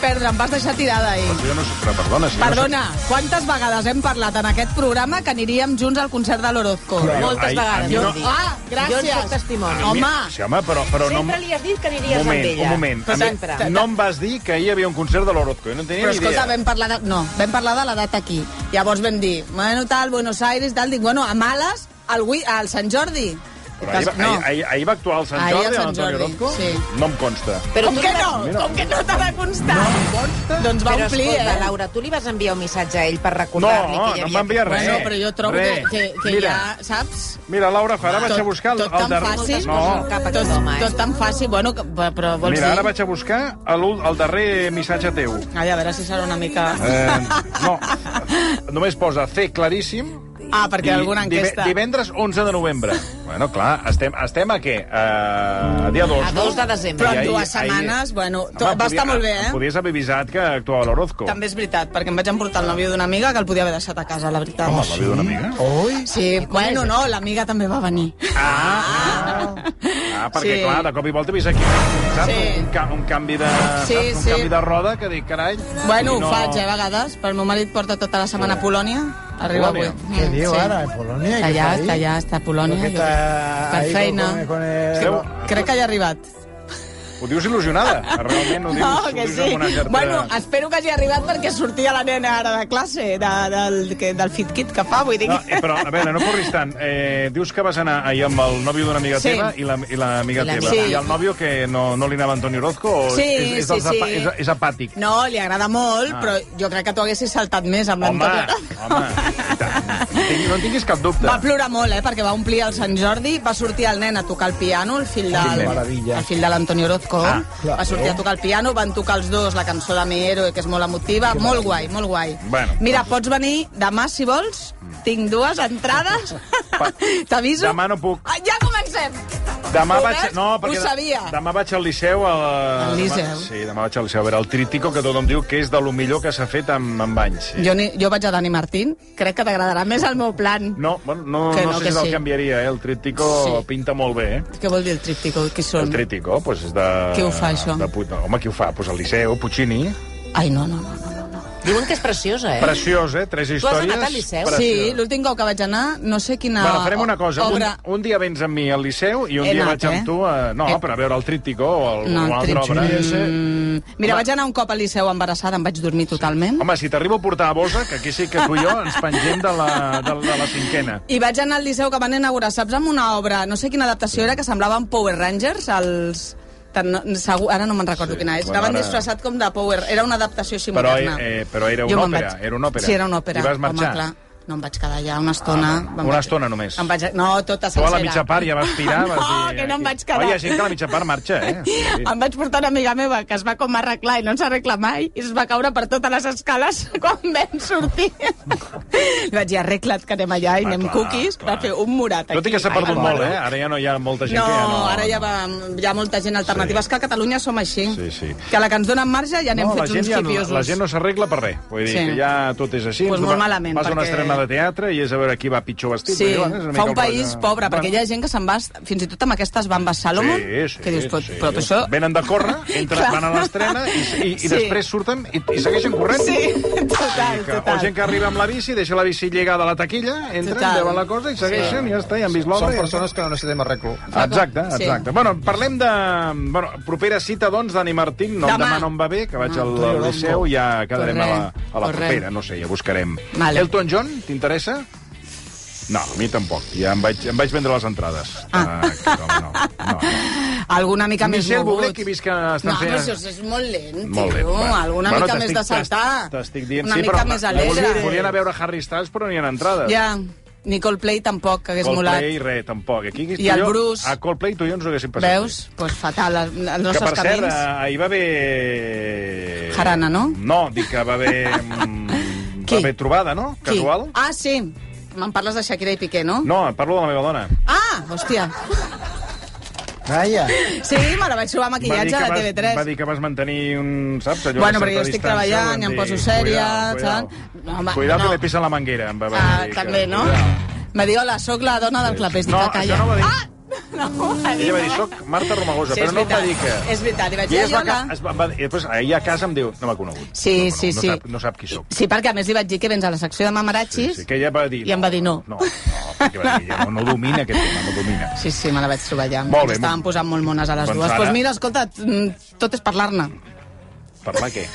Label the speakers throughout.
Speaker 1: perdre, em vas deixar tirada ahir.
Speaker 2: Jo no sé, però perdona, si jo
Speaker 1: Perdona, quantes vegades hem parlat en aquest programa que aniríem junts al concert de l'Orozco?
Speaker 2: Però jo-
Speaker 3: Moltes
Speaker 2: ai, a
Speaker 3: vegades.
Speaker 2: mi
Speaker 3: ho
Speaker 2: no-
Speaker 3: he dit.
Speaker 1: Ah, gràcies.
Speaker 3: Jo en soc
Speaker 2: No sé.
Speaker 3: testimoni.
Speaker 1: Ah, home.
Speaker 2: Sí, home, però, però no...
Speaker 3: Sempre li has dit que aniries
Speaker 2: un moment,
Speaker 3: amb ella.
Speaker 2: Un moment,
Speaker 3: Però
Speaker 2: A mi-
Speaker 3: sempre.
Speaker 2: No em vas dir que ahir hi havia un concert de l'Orozco. Jo no en tenia
Speaker 1: Però
Speaker 2: ni idea.
Speaker 1: escolta, vam parlar de... No, vam parlar de la data aquí. Llavors vam dir, bueno, tal, Buenos Aires, tal. Dic, bueno, a Males, al, Wi- al Sant Jordi.
Speaker 2: Però ahir, va-
Speaker 1: no.
Speaker 2: ahir, ahir, ahir va actuar el Sant
Speaker 1: Ahir
Speaker 2: Jordi,
Speaker 1: el Sant
Speaker 2: l'Antonio
Speaker 1: Jordi,
Speaker 2: Orozco?
Speaker 1: sí.
Speaker 2: No em consta.
Speaker 3: Però
Speaker 1: Com
Speaker 3: tu
Speaker 1: que
Speaker 3: li vas-
Speaker 1: no?
Speaker 2: Mira.
Speaker 1: Com que no t'ha de constar? Doncs va
Speaker 3: Però
Speaker 1: omplir,
Speaker 3: escolta,
Speaker 1: eh?
Speaker 3: Laura, tu li vas enviar un missatge a ell per
Speaker 2: No,
Speaker 3: recordar-li
Speaker 2: no
Speaker 3: que hi havia...
Speaker 2: em va enviar res.
Speaker 1: Bueno, però jo trobo
Speaker 2: res.
Speaker 1: que, que, que
Speaker 2: Mira,
Speaker 1: ja, saps?
Speaker 2: Mira, Laura, ara vaig a buscar el,
Speaker 1: tot tan
Speaker 2: el darrer...
Speaker 1: fàcil,
Speaker 2: No,
Speaker 3: Cap a
Speaker 1: tot,
Speaker 3: aquest home, eh?
Speaker 1: tot tan fàcil, bueno, que, però vols
Speaker 2: mira,
Speaker 1: dir...
Speaker 2: ara vaig a buscar el, el darrer missatge teu.
Speaker 1: Ai, a veure si serà una mica...
Speaker 2: Eh, no, només posa C claríssim.
Speaker 1: Ah, perquè
Speaker 2: i
Speaker 1: alguna
Speaker 2: dive-
Speaker 1: enquesta...
Speaker 2: Divendres 11 de novembre. Bueno, clar, estem, estem a què? Eh, a dia 2,
Speaker 3: A
Speaker 2: no?
Speaker 3: 2 de desembre.
Speaker 1: Però
Speaker 2: I
Speaker 1: en
Speaker 2: ahir-
Speaker 1: dues
Speaker 2: ahir-
Speaker 1: setmanes, bueno, to,
Speaker 2: Home,
Speaker 1: va
Speaker 2: podia-
Speaker 1: estar molt bé, eh?
Speaker 2: Podies haver avisat que actuava l'Orozco.
Speaker 1: També és veritat, perquè em vaig emportar el nòvio d'una amiga que el podia haver deixat a casa, la veritat.
Speaker 2: Home, la vida d'una amiga.
Speaker 4: Oi?
Speaker 1: Sí, bueno, no, l'amiga també va venir.
Speaker 2: Ah, ah, perquè,
Speaker 1: Sí.
Speaker 2: clar, de cop i volta he vist aquí saps?
Speaker 1: Sí.
Speaker 2: Un, ca un, canvi de,
Speaker 1: Sí,
Speaker 2: saps? un
Speaker 1: sí.
Speaker 2: canvi de roda que dic, carai...
Speaker 1: Bueno,
Speaker 2: i
Speaker 1: ho faig, eh, a vegades, però el meu marit porta tota la setmana a Polònia, arriba avui.
Speaker 2: Polònia?
Speaker 1: Mm,
Speaker 4: Què diu
Speaker 1: sí.
Speaker 4: ara? ¿En Polonia?
Speaker 1: Està
Speaker 4: ¿Qué
Speaker 1: allà,
Speaker 4: está ahí?
Speaker 1: està allà, està a
Speaker 4: Creo
Speaker 1: Polònia.
Speaker 4: que
Speaker 1: jo-
Speaker 4: está
Speaker 1: Per
Speaker 4: ahí
Speaker 1: feina.
Speaker 4: Con, con el...
Speaker 2: Esteu-
Speaker 1: Crec que ja ha arribat.
Speaker 2: Ho dius il·lusionada, Ah, realment ho dius,
Speaker 1: No,
Speaker 2: ho
Speaker 1: que
Speaker 2: dius
Speaker 1: sí.
Speaker 2: amb una certa...
Speaker 1: Bueno, espero que hagi arribat perquè sortia la nena ara de classe, de, del, que, del fit-kit que fa, vull dir...
Speaker 2: No,
Speaker 1: que-
Speaker 2: eh, però, a veure, no corris tant. Eh, dius que vas anar ahir amb el nòvio d'una amiga
Speaker 1: Sí.
Speaker 2: teva i la- i l'amiga
Speaker 3: I
Speaker 2: la,
Speaker 3: l'amiga.
Speaker 2: teva.
Speaker 1: Sí.
Speaker 2: I el nòvio que no, no li anava Antonio Orozco? O
Speaker 1: Sí,
Speaker 2: és, és, dels
Speaker 1: sí, sí.
Speaker 2: apa- és, és apàtic?
Speaker 1: No, li agrada molt,
Speaker 2: Ah.
Speaker 1: però jo crec que tu haguessis saltat més amb
Speaker 2: Home,
Speaker 1: l'Antonio.
Speaker 2: home, i tant. no tinguis, no en tinguis cap dubte.
Speaker 1: Va plorar molt, eh, perquè va omplir el Sant Jordi, va sortir el nen a tocar el piano, el fill del,
Speaker 2: Quina
Speaker 4: meravella.
Speaker 1: el fill de l'Antonio Orozco,
Speaker 2: Ah,
Speaker 4: clar.
Speaker 1: va sortir a tocar el piano, van tocar els dos la cançó de Mi Héroe, que és molt emotiva, molt guai, molt guai.
Speaker 2: Bueno, doncs.
Speaker 1: Mira, pots venir demà, si vols, tinc dues entrades,
Speaker 2: Pa-
Speaker 1: t'aviso.
Speaker 2: Demà no puc.
Speaker 1: Ah, Ja comencem!
Speaker 2: Demà
Speaker 1: Ho
Speaker 2: vaig...
Speaker 1: veus?
Speaker 2: No,
Speaker 1: Ho
Speaker 2: perquè de-
Speaker 1: sabia.
Speaker 2: Demà vaig al Liceu. A...
Speaker 1: Al Liceu.
Speaker 2: Demà... Sí, demà vaig al Liceu. A veure, el Tritico, que tothom diu que és de lo millor que s'ha fet amb, amb anys. Sí.
Speaker 1: Jo, ni, jo vaig a Dani Martín, crec que t'agradarà més el meu plan.
Speaker 2: No, bueno, no,
Speaker 1: Que
Speaker 2: no,
Speaker 1: no,
Speaker 2: sé
Speaker 1: que
Speaker 2: si és el
Speaker 1: sí.
Speaker 2: que canviaria, eh? El Tritico
Speaker 1: Sí.
Speaker 2: pinta molt bé, eh?
Speaker 1: Què vol dir el tríptico? Qui són?
Speaker 2: El Tritico, doncs és de...
Speaker 1: Qui ho fa, això? Eh?
Speaker 2: De puta. Home, qui ho fa? Doncs el Liceu, Puccini.
Speaker 1: Ai, no, no, no. no, no.
Speaker 3: Diuen que és preciosa, eh?
Speaker 2: Preciós, eh? Tres
Speaker 3: has
Speaker 2: històries.
Speaker 3: anat al Liceu?
Speaker 1: Sí, l'últim cop que vaig anar, no sé quina...
Speaker 2: Bueno, farem una cosa.
Speaker 1: Obra...
Speaker 2: Un, un dia vens amb mi al Liceu i un
Speaker 1: He
Speaker 2: dia
Speaker 1: anat,
Speaker 2: vaig amb
Speaker 1: eh?
Speaker 2: tu a... No,
Speaker 1: He-
Speaker 2: però a veure el Trítico o el,
Speaker 1: No,
Speaker 2: o
Speaker 1: el
Speaker 2: altra obra.
Speaker 1: Trítico. Mm, Mira,
Speaker 2: Home.
Speaker 1: vaig anar un cop al Liceu embarassada, em vaig dormir totalment.
Speaker 2: Home, si t'arribo a portar a bosa, que aquí sí que tu i jo ens pengem de la, de, de la cinquena.
Speaker 1: I vaig anar al Liceu que van inaugurar, saps, amb una obra, no sé quina adaptació era, que semblaven Power Rangers, els... Tan, no- segur, ara no me'n recordo
Speaker 2: Sí,
Speaker 1: sí, quina és.
Speaker 2: bueno,
Speaker 1: Anaven
Speaker 2: ara-
Speaker 1: disfressat com de Power. Era una adaptació així
Speaker 2: Però,
Speaker 1: moderna.
Speaker 2: eh, eh, però era
Speaker 1: Jo
Speaker 2: una
Speaker 1: me'n
Speaker 2: òpera, era una òpera.
Speaker 1: Sí, era una òpera.
Speaker 2: I vas marxar?
Speaker 1: Home, clar, no em vaig quedar allà una estona.
Speaker 2: Ah,
Speaker 1: me'n
Speaker 2: una
Speaker 1: vaig-
Speaker 2: estona només.
Speaker 1: Em vaig... No, tota
Speaker 2: Tu
Speaker 1: sencera.
Speaker 2: a la mitja part ja vas tirar, vas
Speaker 1: no,
Speaker 2: dir...
Speaker 1: que no em
Speaker 2: aquí.
Speaker 1: vaig quedar.
Speaker 2: Oi, hi ha gent que a la mitja part marxa, eh? Sí.
Speaker 1: Em vaig portar una amiga meva que es va com arreglar i no s'arregla mai i es va caure per totes les escales quan vam sortir. Li vaig dir, arregla't, que anem allà i
Speaker 2: Ah,
Speaker 1: anem
Speaker 2: clar,
Speaker 1: cookies.
Speaker 2: clar.
Speaker 1: Va fer un murat aquí.
Speaker 2: Tot i que s'ha
Speaker 1: Ai,
Speaker 2: perdut
Speaker 1: em
Speaker 2: molt,
Speaker 1: moro.
Speaker 2: eh? Ara ja no hi ha molta gent
Speaker 1: No,
Speaker 2: que ja no...
Speaker 1: ara ja va, hi ha molta gent alternativa.
Speaker 2: Sí.
Speaker 1: És que a Catalunya som així.
Speaker 2: Sí, sí.
Speaker 1: Que a la que ens donen marge ja n'hem
Speaker 2: No, la
Speaker 1: fet
Speaker 2: gent,
Speaker 1: uns
Speaker 2: ja, no-
Speaker 1: tipiosos.
Speaker 2: la gent no s'arregla per res. Vull dir
Speaker 1: Sí.
Speaker 2: que ja tot és així.
Speaker 1: Pues
Speaker 2: Tu
Speaker 1: molt
Speaker 2: va-
Speaker 1: malament,
Speaker 2: Vas a una
Speaker 1: perquè-
Speaker 2: estrena de teatre i és a veure qui va pitjor vestit.
Speaker 1: Sí,
Speaker 2: i, bueno, és
Speaker 1: fa
Speaker 2: una mica
Speaker 1: un
Speaker 2: el
Speaker 1: país
Speaker 2: rotllo-
Speaker 1: pobre, perquè
Speaker 2: Bueno.
Speaker 1: hi ha gent que se'n va, fins i tot amb aquestes bambes Salomon,
Speaker 2: Sí, sí,
Speaker 1: que dius, però,
Speaker 2: sí.
Speaker 1: però això...
Speaker 2: Venen de córrer, entren,
Speaker 1: Clar.
Speaker 2: van a l'estrena i, i, i
Speaker 1: Sí.
Speaker 2: després surten i, i segueixen corrent.
Speaker 1: Sí, total,
Speaker 2: Que, o
Speaker 1: total.
Speaker 2: gent que arriba amb la bici, deixa la bici lligada a la taquilla, entren,
Speaker 1: Total.
Speaker 2: veuen la cosa i segueixen i ja està, i han vist l'obra.
Speaker 4: Son
Speaker 2: i ja està.
Speaker 4: personas que no necesitem arreglo.
Speaker 2: Exacte,
Speaker 1: Sí.
Speaker 2: exacte. Bueno, parlem de... Bueno, propera cita, doncs, d'Ani Martín. No,
Speaker 1: Demà. Ah.
Speaker 2: demà no em va bé, que vaig al, al Liceu i ja quedarem a la, a la
Speaker 1: Correcte.
Speaker 2: propera. No sé, ja buscarem.
Speaker 1: Vale.
Speaker 2: Elton John, t'interessa? No, a mi tampoc. Ja em vaig, em vaig vendre les entrades.
Speaker 1: Ah.
Speaker 2: que no, no, no, no.
Speaker 1: Alguna mica més
Speaker 2: Michel
Speaker 1: mogut.
Speaker 2: Bublé, que he vist que estan
Speaker 1: No,
Speaker 2: fent...
Speaker 1: però això és molt lent, tio.
Speaker 2: Molt bé. va.
Speaker 1: Alguna
Speaker 2: Bueno,
Speaker 1: mica més
Speaker 2: t'estic-
Speaker 1: de saltar.
Speaker 2: T'estic dient,
Speaker 1: Una
Speaker 2: sí,
Speaker 1: mica
Speaker 2: però...
Speaker 1: més alegre.
Speaker 2: Volia, volia anar a veure Harry Styles, però no hi ha entrades.
Speaker 1: Ja, ni Coldplay tampoc, que hagués molat.
Speaker 2: Coldplay, res, tampoc. Aquí, tu
Speaker 1: el
Speaker 2: jo-
Speaker 1: Bruce.
Speaker 2: A Coldplay tu i jo ens ho haguéssim passat.
Speaker 1: Veus? Doncs pues fatal, els els
Speaker 2: Que, per
Speaker 1: nostres
Speaker 2: cert,
Speaker 1: camins.
Speaker 2: eh, ahir va haver...
Speaker 1: Jarana, no?
Speaker 2: No, dic que va haver... mm,
Speaker 1: Qui?
Speaker 2: Va haver trobada, no?
Speaker 1: Qui?
Speaker 2: Casual?
Speaker 1: Ah, sí. Me'n parles de Shakira i Piqué, no?
Speaker 2: No, parlo de la meva dona.
Speaker 1: Ah, hòstia.
Speaker 4: Vaya.
Speaker 1: Sí, me la vaig trobar a
Speaker 2: Va dir
Speaker 1: maquillatge
Speaker 2: que
Speaker 1: de
Speaker 2: vas-
Speaker 1: TV3.
Speaker 2: Va dir que vas mantenir un... Saps, allò
Speaker 1: Bueno,
Speaker 2: una
Speaker 1: perquè
Speaker 2: certa
Speaker 1: jo estic
Speaker 2: distància,
Speaker 1: treballant,
Speaker 2: van
Speaker 1: i em
Speaker 2: dir,
Speaker 1: poso sèria,
Speaker 2: Cuidao,
Speaker 1: saps? No,
Speaker 2: cuidao.
Speaker 1: home,
Speaker 2: Cuidao
Speaker 1: no.
Speaker 2: que li pisen la manguera, em va
Speaker 1: Ah,
Speaker 2: dir. que-
Speaker 1: també, no?
Speaker 2: Cuidao.
Speaker 1: Va dir, hola, sóc la dona del clapés. Dic,
Speaker 2: No,
Speaker 1: ah, calla.
Speaker 2: això no va dir.
Speaker 1: Ah! no,
Speaker 2: Ella va dir, soc Marta Romagosa, però no em va dir que...
Speaker 1: És veritat, i vaig
Speaker 2: I
Speaker 1: dir,
Speaker 2: ella es va,
Speaker 1: hola.
Speaker 2: ca... es va, va... I després, ella a casa em diu, no m'ha conegut.
Speaker 1: Sí,
Speaker 2: no, m'ha
Speaker 1: sí,
Speaker 2: conegut, no
Speaker 1: sí.
Speaker 2: Sap, no sap qui sóc.
Speaker 1: Sí, perquè a més li vaig dir que vens a la secció de mamarachis.
Speaker 2: que ella va dir...
Speaker 1: I em va dir no.
Speaker 2: No, no, perquè va dir, ella no, no domina aquest tema, no domina.
Speaker 1: Sí, sí, me la vaig trobar allà.
Speaker 2: Molt bé,
Speaker 1: Estaven
Speaker 2: molt-
Speaker 1: posant molt mones a les
Speaker 2: Doncs
Speaker 1: dues. Doncs
Speaker 2: ara-
Speaker 1: pues mira, escolta, mm, tot és parlar-ne.
Speaker 2: Parlar què?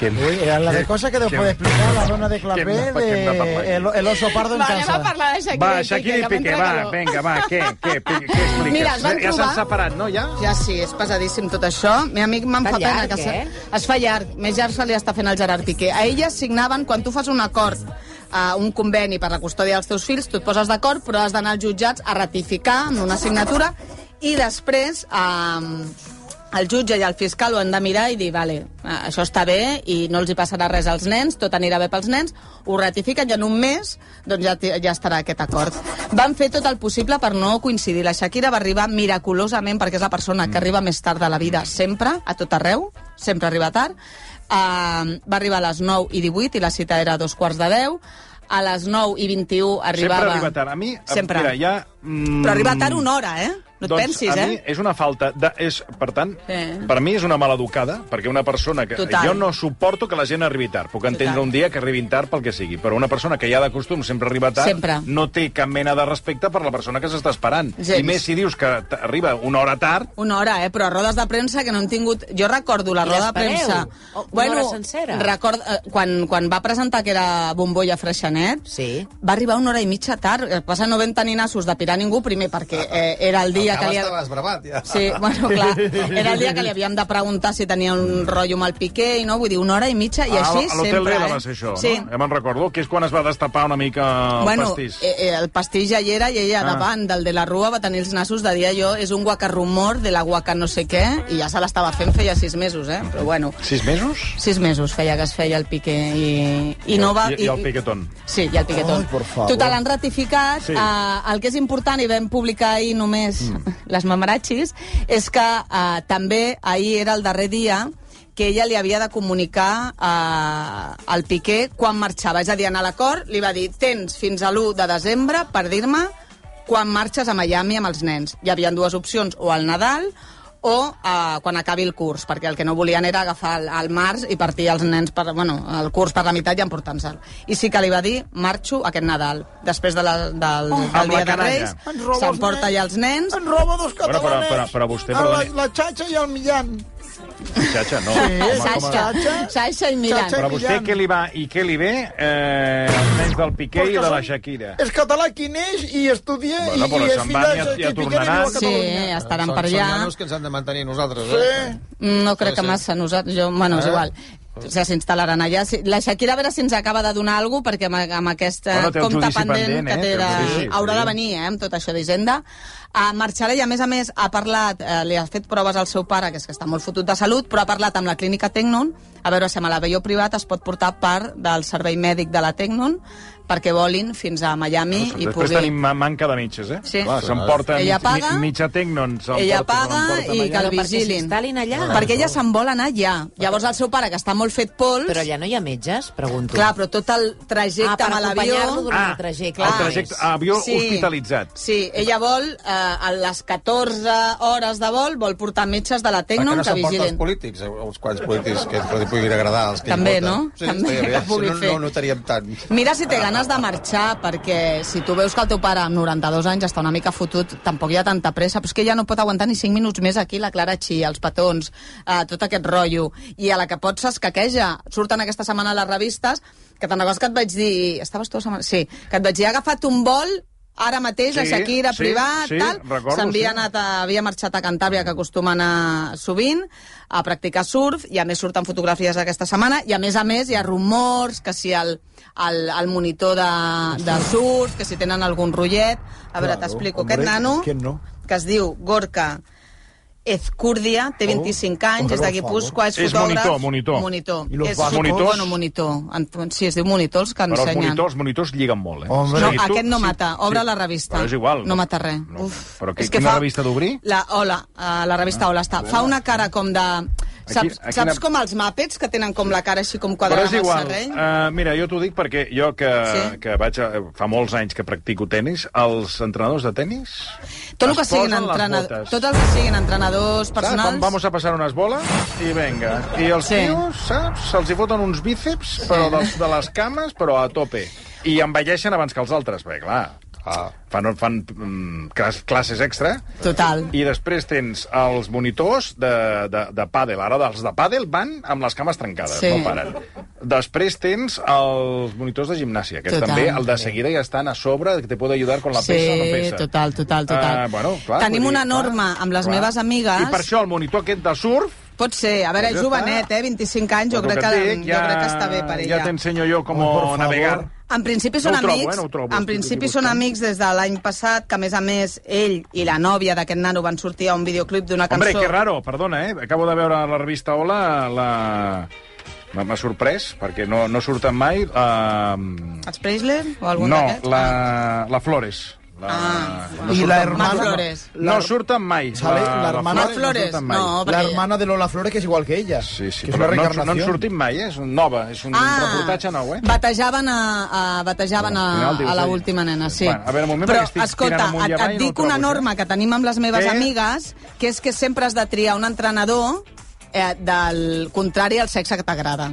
Speaker 2: Que...
Speaker 4: Uy, era la de cosas que después de explicar la zona de clavé
Speaker 2: ¿Quién va- quién va a parlar aquí?
Speaker 4: de el, el oso pardo en casa.
Speaker 1: parlar de Shakira
Speaker 2: Va, Shakira i Piqué, va, vinga, va, què, què, Piqué, què expliques?
Speaker 1: Mira, es van
Speaker 2: ja
Speaker 1: trobar-
Speaker 2: s'han separat, no, ja?
Speaker 1: Ja sí, és pesadíssim tot això. Mi amic me'n
Speaker 3: Fa
Speaker 1: fa pena
Speaker 3: llarg,
Speaker 1: que se-
Speaker 3: eh?
Speaker 1: es fa llarg. Més llarg se li està fent al Gerard Piqué. A ella signaven, quan tu fas un acord, uh, un conveni per la custòdia dels teus fills, tu et poses d'acord, però has d'anar als jutjats a ratificar amb una signatura i després... Uh, el jutge i el fiscal ho han de mirar i dir, vale, eh, això està bé i no els hi passarà res als nens, tot anirà bé pels nens, ho ratifiquen i en un mes doncs ja, ti- ja estarà aquest acord. Van fer tot el possible per no coincidir. La Shakira va arribar miraculosament, perquè és la persona
Speaker 2: Mm.
Speaker 1: que arriba més tard de la vida sempre, a tot arreu, sempre arriba tard. Uh, va arribar a les 9 i 18 i la cita era a dos quarts de 10. A les 9 i 21 arribava...
Speaker 2: Sempre arriba tard. A mi,
Speaker 1: Sempre.
Speaker 2: mira, ja... Mm,
Speaker 1: Però arriba tard una hora, eh? No et
Speaker 2: doncs
Speaker 1: pensis,
Speaker 2: a
Speaker 1: eh?
Speaker 2: mi és una falta... De, és, per tant, sí.
Speaker 1: Sí.
Speaker 2: per mi és una maleducada, perquè una persona que...
Speaker 1: Total.
Speaker 2: Jo no suporto que la gent arribi tard. Puc entendre
Speaker 1: Total.
Speaker 2: un dia que arribin tard pel que sigui, però una persona que ja de costum sempre arriba tard
Speaker 1: Sempre.
Speaker 2: no té cap mena de respecte per la persona que s'està esperant.
Speaker 1: Gens.
Speaker 2: I més si dius que t- arriba una hora tard,
Speaker 1: Una hora, eh? Però a rodes de premsa que no hem tingut... Jo recordo la
Speaker 3: I
Speaker 1: roda de
Speaker 3: l'espereu?
Speaker 1: premsa...
Speaker 3: O- una hora sencera?
Speaker 1: Record, eh, quan, quan va presentar que era Bombolla Freixenet,
Speaker 3: Sí.
Speaker 1: va arribar una hora i mitja tard. El que passa no vam tenir nassos de pirar ningú, primer, perquè eh, era el dia que li...
Speaker 4: estava esbravat, ja.
Speaker 1: Sí, bueno, clar. Era el dia que li havíem de preguntar si tenia un rotllo amb el Piqué i no, vull dir, una hora i mitja i
Speaker 2: a-
Speaker 1: així
Speaker 2: a l'hotel
Speaker 1: sempre,
Speaker 2: Vela
Speaker 1: eh?
Speaker 2: va ser això,
Speaker 1: sí.
Speaker 2: no? Ja me'n recordo, que és quan es va destapar una mica el
Speaker 1: bueno,
Speaker 2: pastís.
Speaker 1: Eh, eh, el pastís ja hi era i ella
Speaker 2: Ah.
Speaker 1: ah. davant del de la Rua va tenir els nassos de dir jo és un guacarrumor de la guaca no sé què i ja se l'estava fent feia sis mesos, eh? Però bueno,
Speaker 2: Sis mesos?
Speaker 1: sis mesos feia que es feia el Piqué i, i no va...
Speaker 2: I, i el piquetón.
Speaker 1: Sí, i el piquetón.
Speaker 4: Ai, por favor.
Speaker 1: Total, han ratificat.
Speaker 2: Sí.
Speaker 1: Sí. Uh, el que és important, i vam publicar ahir només mm. les mamarachis, és que uh, també ahir era el darrer dia que ella li havia de comunicar uh, al Piqué quan marxava. És a dir, en l'acord li va dir tens fins a l'1 de desembre per dir-me quan marxes a Miami amb els nens. Hi havia dues opcions, o al Nadal o eh, quan acabi el curs, perquè el que no volien era agafar el, el març i partir els nens per, bueno, el curs per la meitat i emportar-se'l. I sí que li va dir, marxo aquest Nadal. Després de la, del, oh, del
Speaker 2: amb la
Speaker 1: dia de
Speaker 2: canalla.
Speaker 1: Reis,
Speaker 4: Ens roba els
Speaker 1: s'emporta
Speaker 4: nens.
Speaker 1: ja els nens.
Speaker 4: En roba
Speaker 2: Bueno,
Speaker 4: dos
Speaker 2: però-
Speaker 4: catalanes.
Speaker 2: però- però vostè,
Speaker 4: a la,
Speaker 2: perdoni.
Speaker 4: la xatxa i el Millán.
Speaker 2: Xaxa, no.
Speaker 4: Sí,
Speaker 2: Home,
Speaker 4: Sasha.
Speaker 2: com a-
Speaker 4: Xatxa.
Speaker 1: Sasha i Milan.
Speaker 4: Xatxa.
Speaker 2: Però a vostè què li va i què li ve eh, als nens del Piqué i de la Shakira?
Speaker 4: És català qui neix i estudia
Speaker 2: Bueno, però
Speaker 4: i, i és
Speaker 2: se'n
Speaker 4: fill
Speaker 2: van
Speaker 4: de
Speaker 2: i ja-
Speaker 4: Shakira
Speaker 2: ja
Speaker 4: i Piqué i viu
Speaker 2: tornaran.
Speaker 4: a
Speaker 1: Sí,
Speaker 4: Catalunya.
Speaker 1: estaran per allà.
Speaker 5: Són nanos que ens han de mantenir a nosaltres, eh?
Speaker 4: Sí.
Speaker 1: No crec
Speaker 2: Ah,
Speaker 5: Sí,
Speaker 1: que
Speaker 5: sí.
Speaker 1: massa, nosaltres... Jo, bueno, és
Speaker 5: Eh?
Speaker 1: igual.
Speaker 2: Oh.
Speaker 1: O sigui, s'instal·laran allà. Si- La Shakira, a veure si ens acaba de donar alguna cosa, perquè amb, amb aquest
Speaker 2: Bueno,
Speaker 1: bueno,
Speaker 2: té el
Speaker 1: compte
Speaker 2: judici
Speaker 1: pendent,
Speaker 2: pendent,
Speaker 1: que
Speaker 2: eh?
Speaker 1: té
Speaker 2: Té el
Speaker 1: de...
Speaker 2: judici,
Speaker 1: Haurà
Speaker 2: sí.
Speaker 1: de venir, eh, amb tot això d'Hisenda. Uh, marxarà i, a més a més, ha parlat... Eh, li ha fet proves al seu pare, que és que està molt fotut de salut, però ha parlat amb la clínica Tecnon a veure si amb l'avió privat es pot portar part del servei mèdic de la Tecnon perquè volin fins a Miami i
Speaker 2: Després
Speaker 1: pugui...
Speaker 2: tenim ma- manca de mitges, eh?
Speaker 1: Sí.
Speaker 2: Clar, S'emporten
Speaker 1: Ella paga,
Speaker 2: mi- mitja tecnon. s'emporten-
Speaker 1: ella paga
Speaker 2: s'emporten
Speaker 1: i
Speaker 2: allà.
Speaker 1: que el
Speaker 3: Però perquè
Speaker 1: vigilin.
Speaker 3: s'instal·lin allà.
Speaker 1: Perquè ella se'n vol anar ja. Llavors el seu pare, que està molt fet pols...
Speaker 3: Però allà no hi ha metges, pregunto.
Speaker 1: Clar, però tot el
Speaker 3: ah,
Speaker 1: trajecte
Speaker 3: per
Speaker 1: amb
Speaker 3: acompanyar-lo
Speaker 1: l'avió...
Speaker 3: durant el trajecte.
Speaker 2: el
Speaker 3: Ah,
Speaker 2: trajecte,
Speaker 3: és.
Speaker 2: avió hospitalitzat.
Speaker 1: Sí, ella vol, eh, a les 14 hores de vol, vol portar metges de la
Speaker 5: Perquè
Speaker 1: Tecnon
Speaker 5: no
Speaker 1: que
Speaker 5: s'aporta als
Speaker 1: vigilin.
Speaker 5: polítics, als quants polítics que els puguin agradar, els que
Speaker 1: També,
Speaker 5: hi voten.
Speaker 1: no?
Speaker 5: Sí,
Speaker 1: També, que
Speaker 5: estaria bé.
Speaker 1: pugui
Speaker 5: Si no,
Speaker 1: fer.
Speaker 5: no ho notaríem tant.
Speaker 1: Mira si té ganes de marxar, perquè si tu veus que el teu pare amb 92 anys està una mica fotut, tampoc hi ha tanta pressa, però és que ja no pot aguantar ni 5 minuts més aquí la Clara Chi, els petons, eh, tot aquest rotllo, i a la que pot s'escaqueja. Surten aquesta setmana les revistes, que te'n recordes que et vaig dir... Estaves tu la setmana? Sí, que et vaig dir, ha agafat un vol ara mateix
Speaker 2: Sí,
Speaker 1: a Shakira
Speaker 2: sí,
Speaker 1: privat,
Speaker 2: sí,
Speaker 1: tal,
Speaker 2: recordo,
Speaker 1: s'havia
Speaker 2: sí.
Speaker 1: anat a, havia marxat a Cantàbria, que acostuma a anar sovint, a practicar surf, i a més surten fotografies aquesta setmana, i a més a més hi ha rumors que si el, el, el monitor de, de surf, que si tenen algun rotllet... A veure,
Speaker 4: Claro,
Speaker 1: t'explico.
Speaker 4: hombre,
Speaker 1: Aquest nano,
Speaker 4: ¿quién no?
Speaker 1: que es diu Gorka Ezcúrdia, té 25 anys, és de
Speaker 4: Oh, por
Speaker 1: Guipúscoa, és
Speaker 2: És
Speaker 1: fotògraf...
Speaker 2: monitor, monitor.
Speaker 1: Monitor.
Speaker 4: I los
Speaker 1: És,
Speaker 4: vasos?
Speaker 2: Monitors?
Speaker 1: bueno, monitor. En- Sí, es diu monitors que
Speaker 2: Però els
Speaker 1: ensenyen.
Speaker 2: monitors, els monitors lliguen molt, eh?
Speaker 4: Home.
Speaker 1: No,
Speaker 2: O sigui, tu-
Speaker 1: aquest no
Speaker 2: sí,
Speaker 1: mata. Obre
Speaker 2: sí.
Speaker 1: la revista.
Speaker 2: Però és igual.
Speaker 1: No mata res.
Speaker 2: No.
Speaker 1: Uf.
Speaker 2: Però que,
Speaker 1: És que
Speaker 2: quina
Speaker 1: fa-
Speaker 2: revista d'obrir? Ah,
Speaker 1: La Hola, eh, la revista Hola està. Fa una cara com de...
Speaker 2: Aquí-
Speaker 1: Saps,
Speaker 2: aquí
Speaker 1: saps
Speaker 2: anem-
Speaker 1: com els màpets, que tenen com la cara així com
Speaker 2: Però
Speaker 1: quadrada
Speaker 2: és
Speaker 1: amb el
Speaker 2: igual.
Speaker 1: serrell?
Speaker 2: Uh, mira, jo t'ho dic perquè jo que,
Speaker 1: Sí.
Speaker 2: sí. que vaig a, fa molts anys que practico tennis, els entrenadors de tennis...
Speaker 1: Tot el que
Speaker 2: es
Speaker 1: siguin
Speaker 2: posen les
Speaker 1: entrenadors,
Speaker 2: botes.
Speaker 1: tot el que siguin entrenadors
Speaker 2: Saps?
Speaker 1: personals...
Speaker 2: Vam- Vamos a passar unes boles i venga. I els
Speaker 1: Sí.
Speaker 2: sí. tios, saps? Se'ls hi foten uns bíceps, però dels, de les cames, però a tope. I envelleixen abans que els altres, bé, clar.
Speaker 5: Ah.
Speaker 2: Fan, fan mm, clas- classes extra
Speaker 1: Total.
Speaker 2: i després tens els monitors de, de, de pàdel. Ara, els de pàdel van amb les cames trencades,
Speaker 1: Sí.
Speaker 2: no paren. Després tens els monitors de gimnàsia, que
Speaker 1: Total.
Speaker 2: Total. també el de seguida ja estan a sobre, que te pot ajudar con la
Speaker 1: Sí,
Speaker 2: peça o no peça.
Speaker 1: total, total, total.
Speaker 2: Ah, bueno, clar,
Speaker 1: Tenim
Speaker 2: vull
Speaker 1: una norma amb les meves amigues.
Speaker 2: I per això el monitor aquest de surf...
Speaker 1: Pot ser, a veure, és
Speaker 2: Ja
Speaker 1: jovenet,
Speaker 2: està.
Speaker 1: eh? 25 anys, jo
Speaker 2: el
Speaker 1: crec,
Speaker 2: et
Speaker 1: que,
Speaker 2: dic,
Speaker 1: jo crec que està bé per ella.
Speaker 2: Ja t'ensenyo jo com
Speaker 4: Ai, por favor.
Speaker 2: navegar.
Speaker 1: En principi
Speaker 2: No
Speaker 1: són
Speaker 2: ho trobo,
Speaker 1: amics,
Speaker 2: eh? No ho trobo,
Speaker 1: en
Speaker 2: estic
Speaker 1: principi
Speaker 2: aquí
Speaker 1: són
Speaker 2: buscant.
Speaker 1: amics des de l'any passat, que a més a més ell i la nòvia d'aquest nano van sortir a un videoclip d'una cançó.
Speaker 2: Hombre, que raro, perdona, eh? Acabo de veure a la revista Hola la... m'ha- M'ha sorprès, perquè no, no surten mai. Uh,
Speaker 1: Els Preisler o algun
Speaker 2: no,
Speaker 1: d'aquests?
Speaker 3: Ah.
Speaker 2: la, la Flores. La,
Speaker 1: Ah.
Speaker 2: no
Speaker 4: I
Speaker 2: surten-
Speaker 4: la
Speaker 1: Más
Speaker 4: hermana...
Speaker 1: Flores.
Speaker 2: No surten mai.
Speaker 4: Sale la
Speaker 2: la
Speaker 4: hermana-
Speaker 2: Flores no surten mai.
Speaker 1: No,
Speaker 4: La
Speaker 1: perquè-
Speaker 4: hermana de Lola Flores, que és igual que ella.
Speaker 2: Sí, sí,
Speaker 4: que és
Speaker 2: però no,
Speaker 4: una
Speaker 2: no han
Speaker 4: reencarnació.
Speaker 2: sortit mai, eh? és nova, és un
Speaker 1: Ah,
Speaker 2: reportatge nou, eh?
Speaker 1: batejaven a, a, batejaven a,
Speaker 2: Al final dius,
Speaker 1: a la
Speaker 2: ei.
Speaker 1: última nena, sí.
Speaker 2: Bueno, a veure, un moment,
Speaker 1: Però,
Speaker 2: perquè estic
Speaker 1: escolta,
Speaker 2: tirant amunt i
Speaker 1: et,
Speaker 2: avall
Speaker 1: et
Speaker 2: i no
Speaker 1: dic
Speaker 2: ho trobo,
Speaker 1: una
Speaker 2: eh?
Speaker 1: norma que tenim amb les meves
Speaker 2: Eh?
Speaker 1: amigues, que és que sempre has de triar un entrenador eh, del contrari al sexe que t'agrada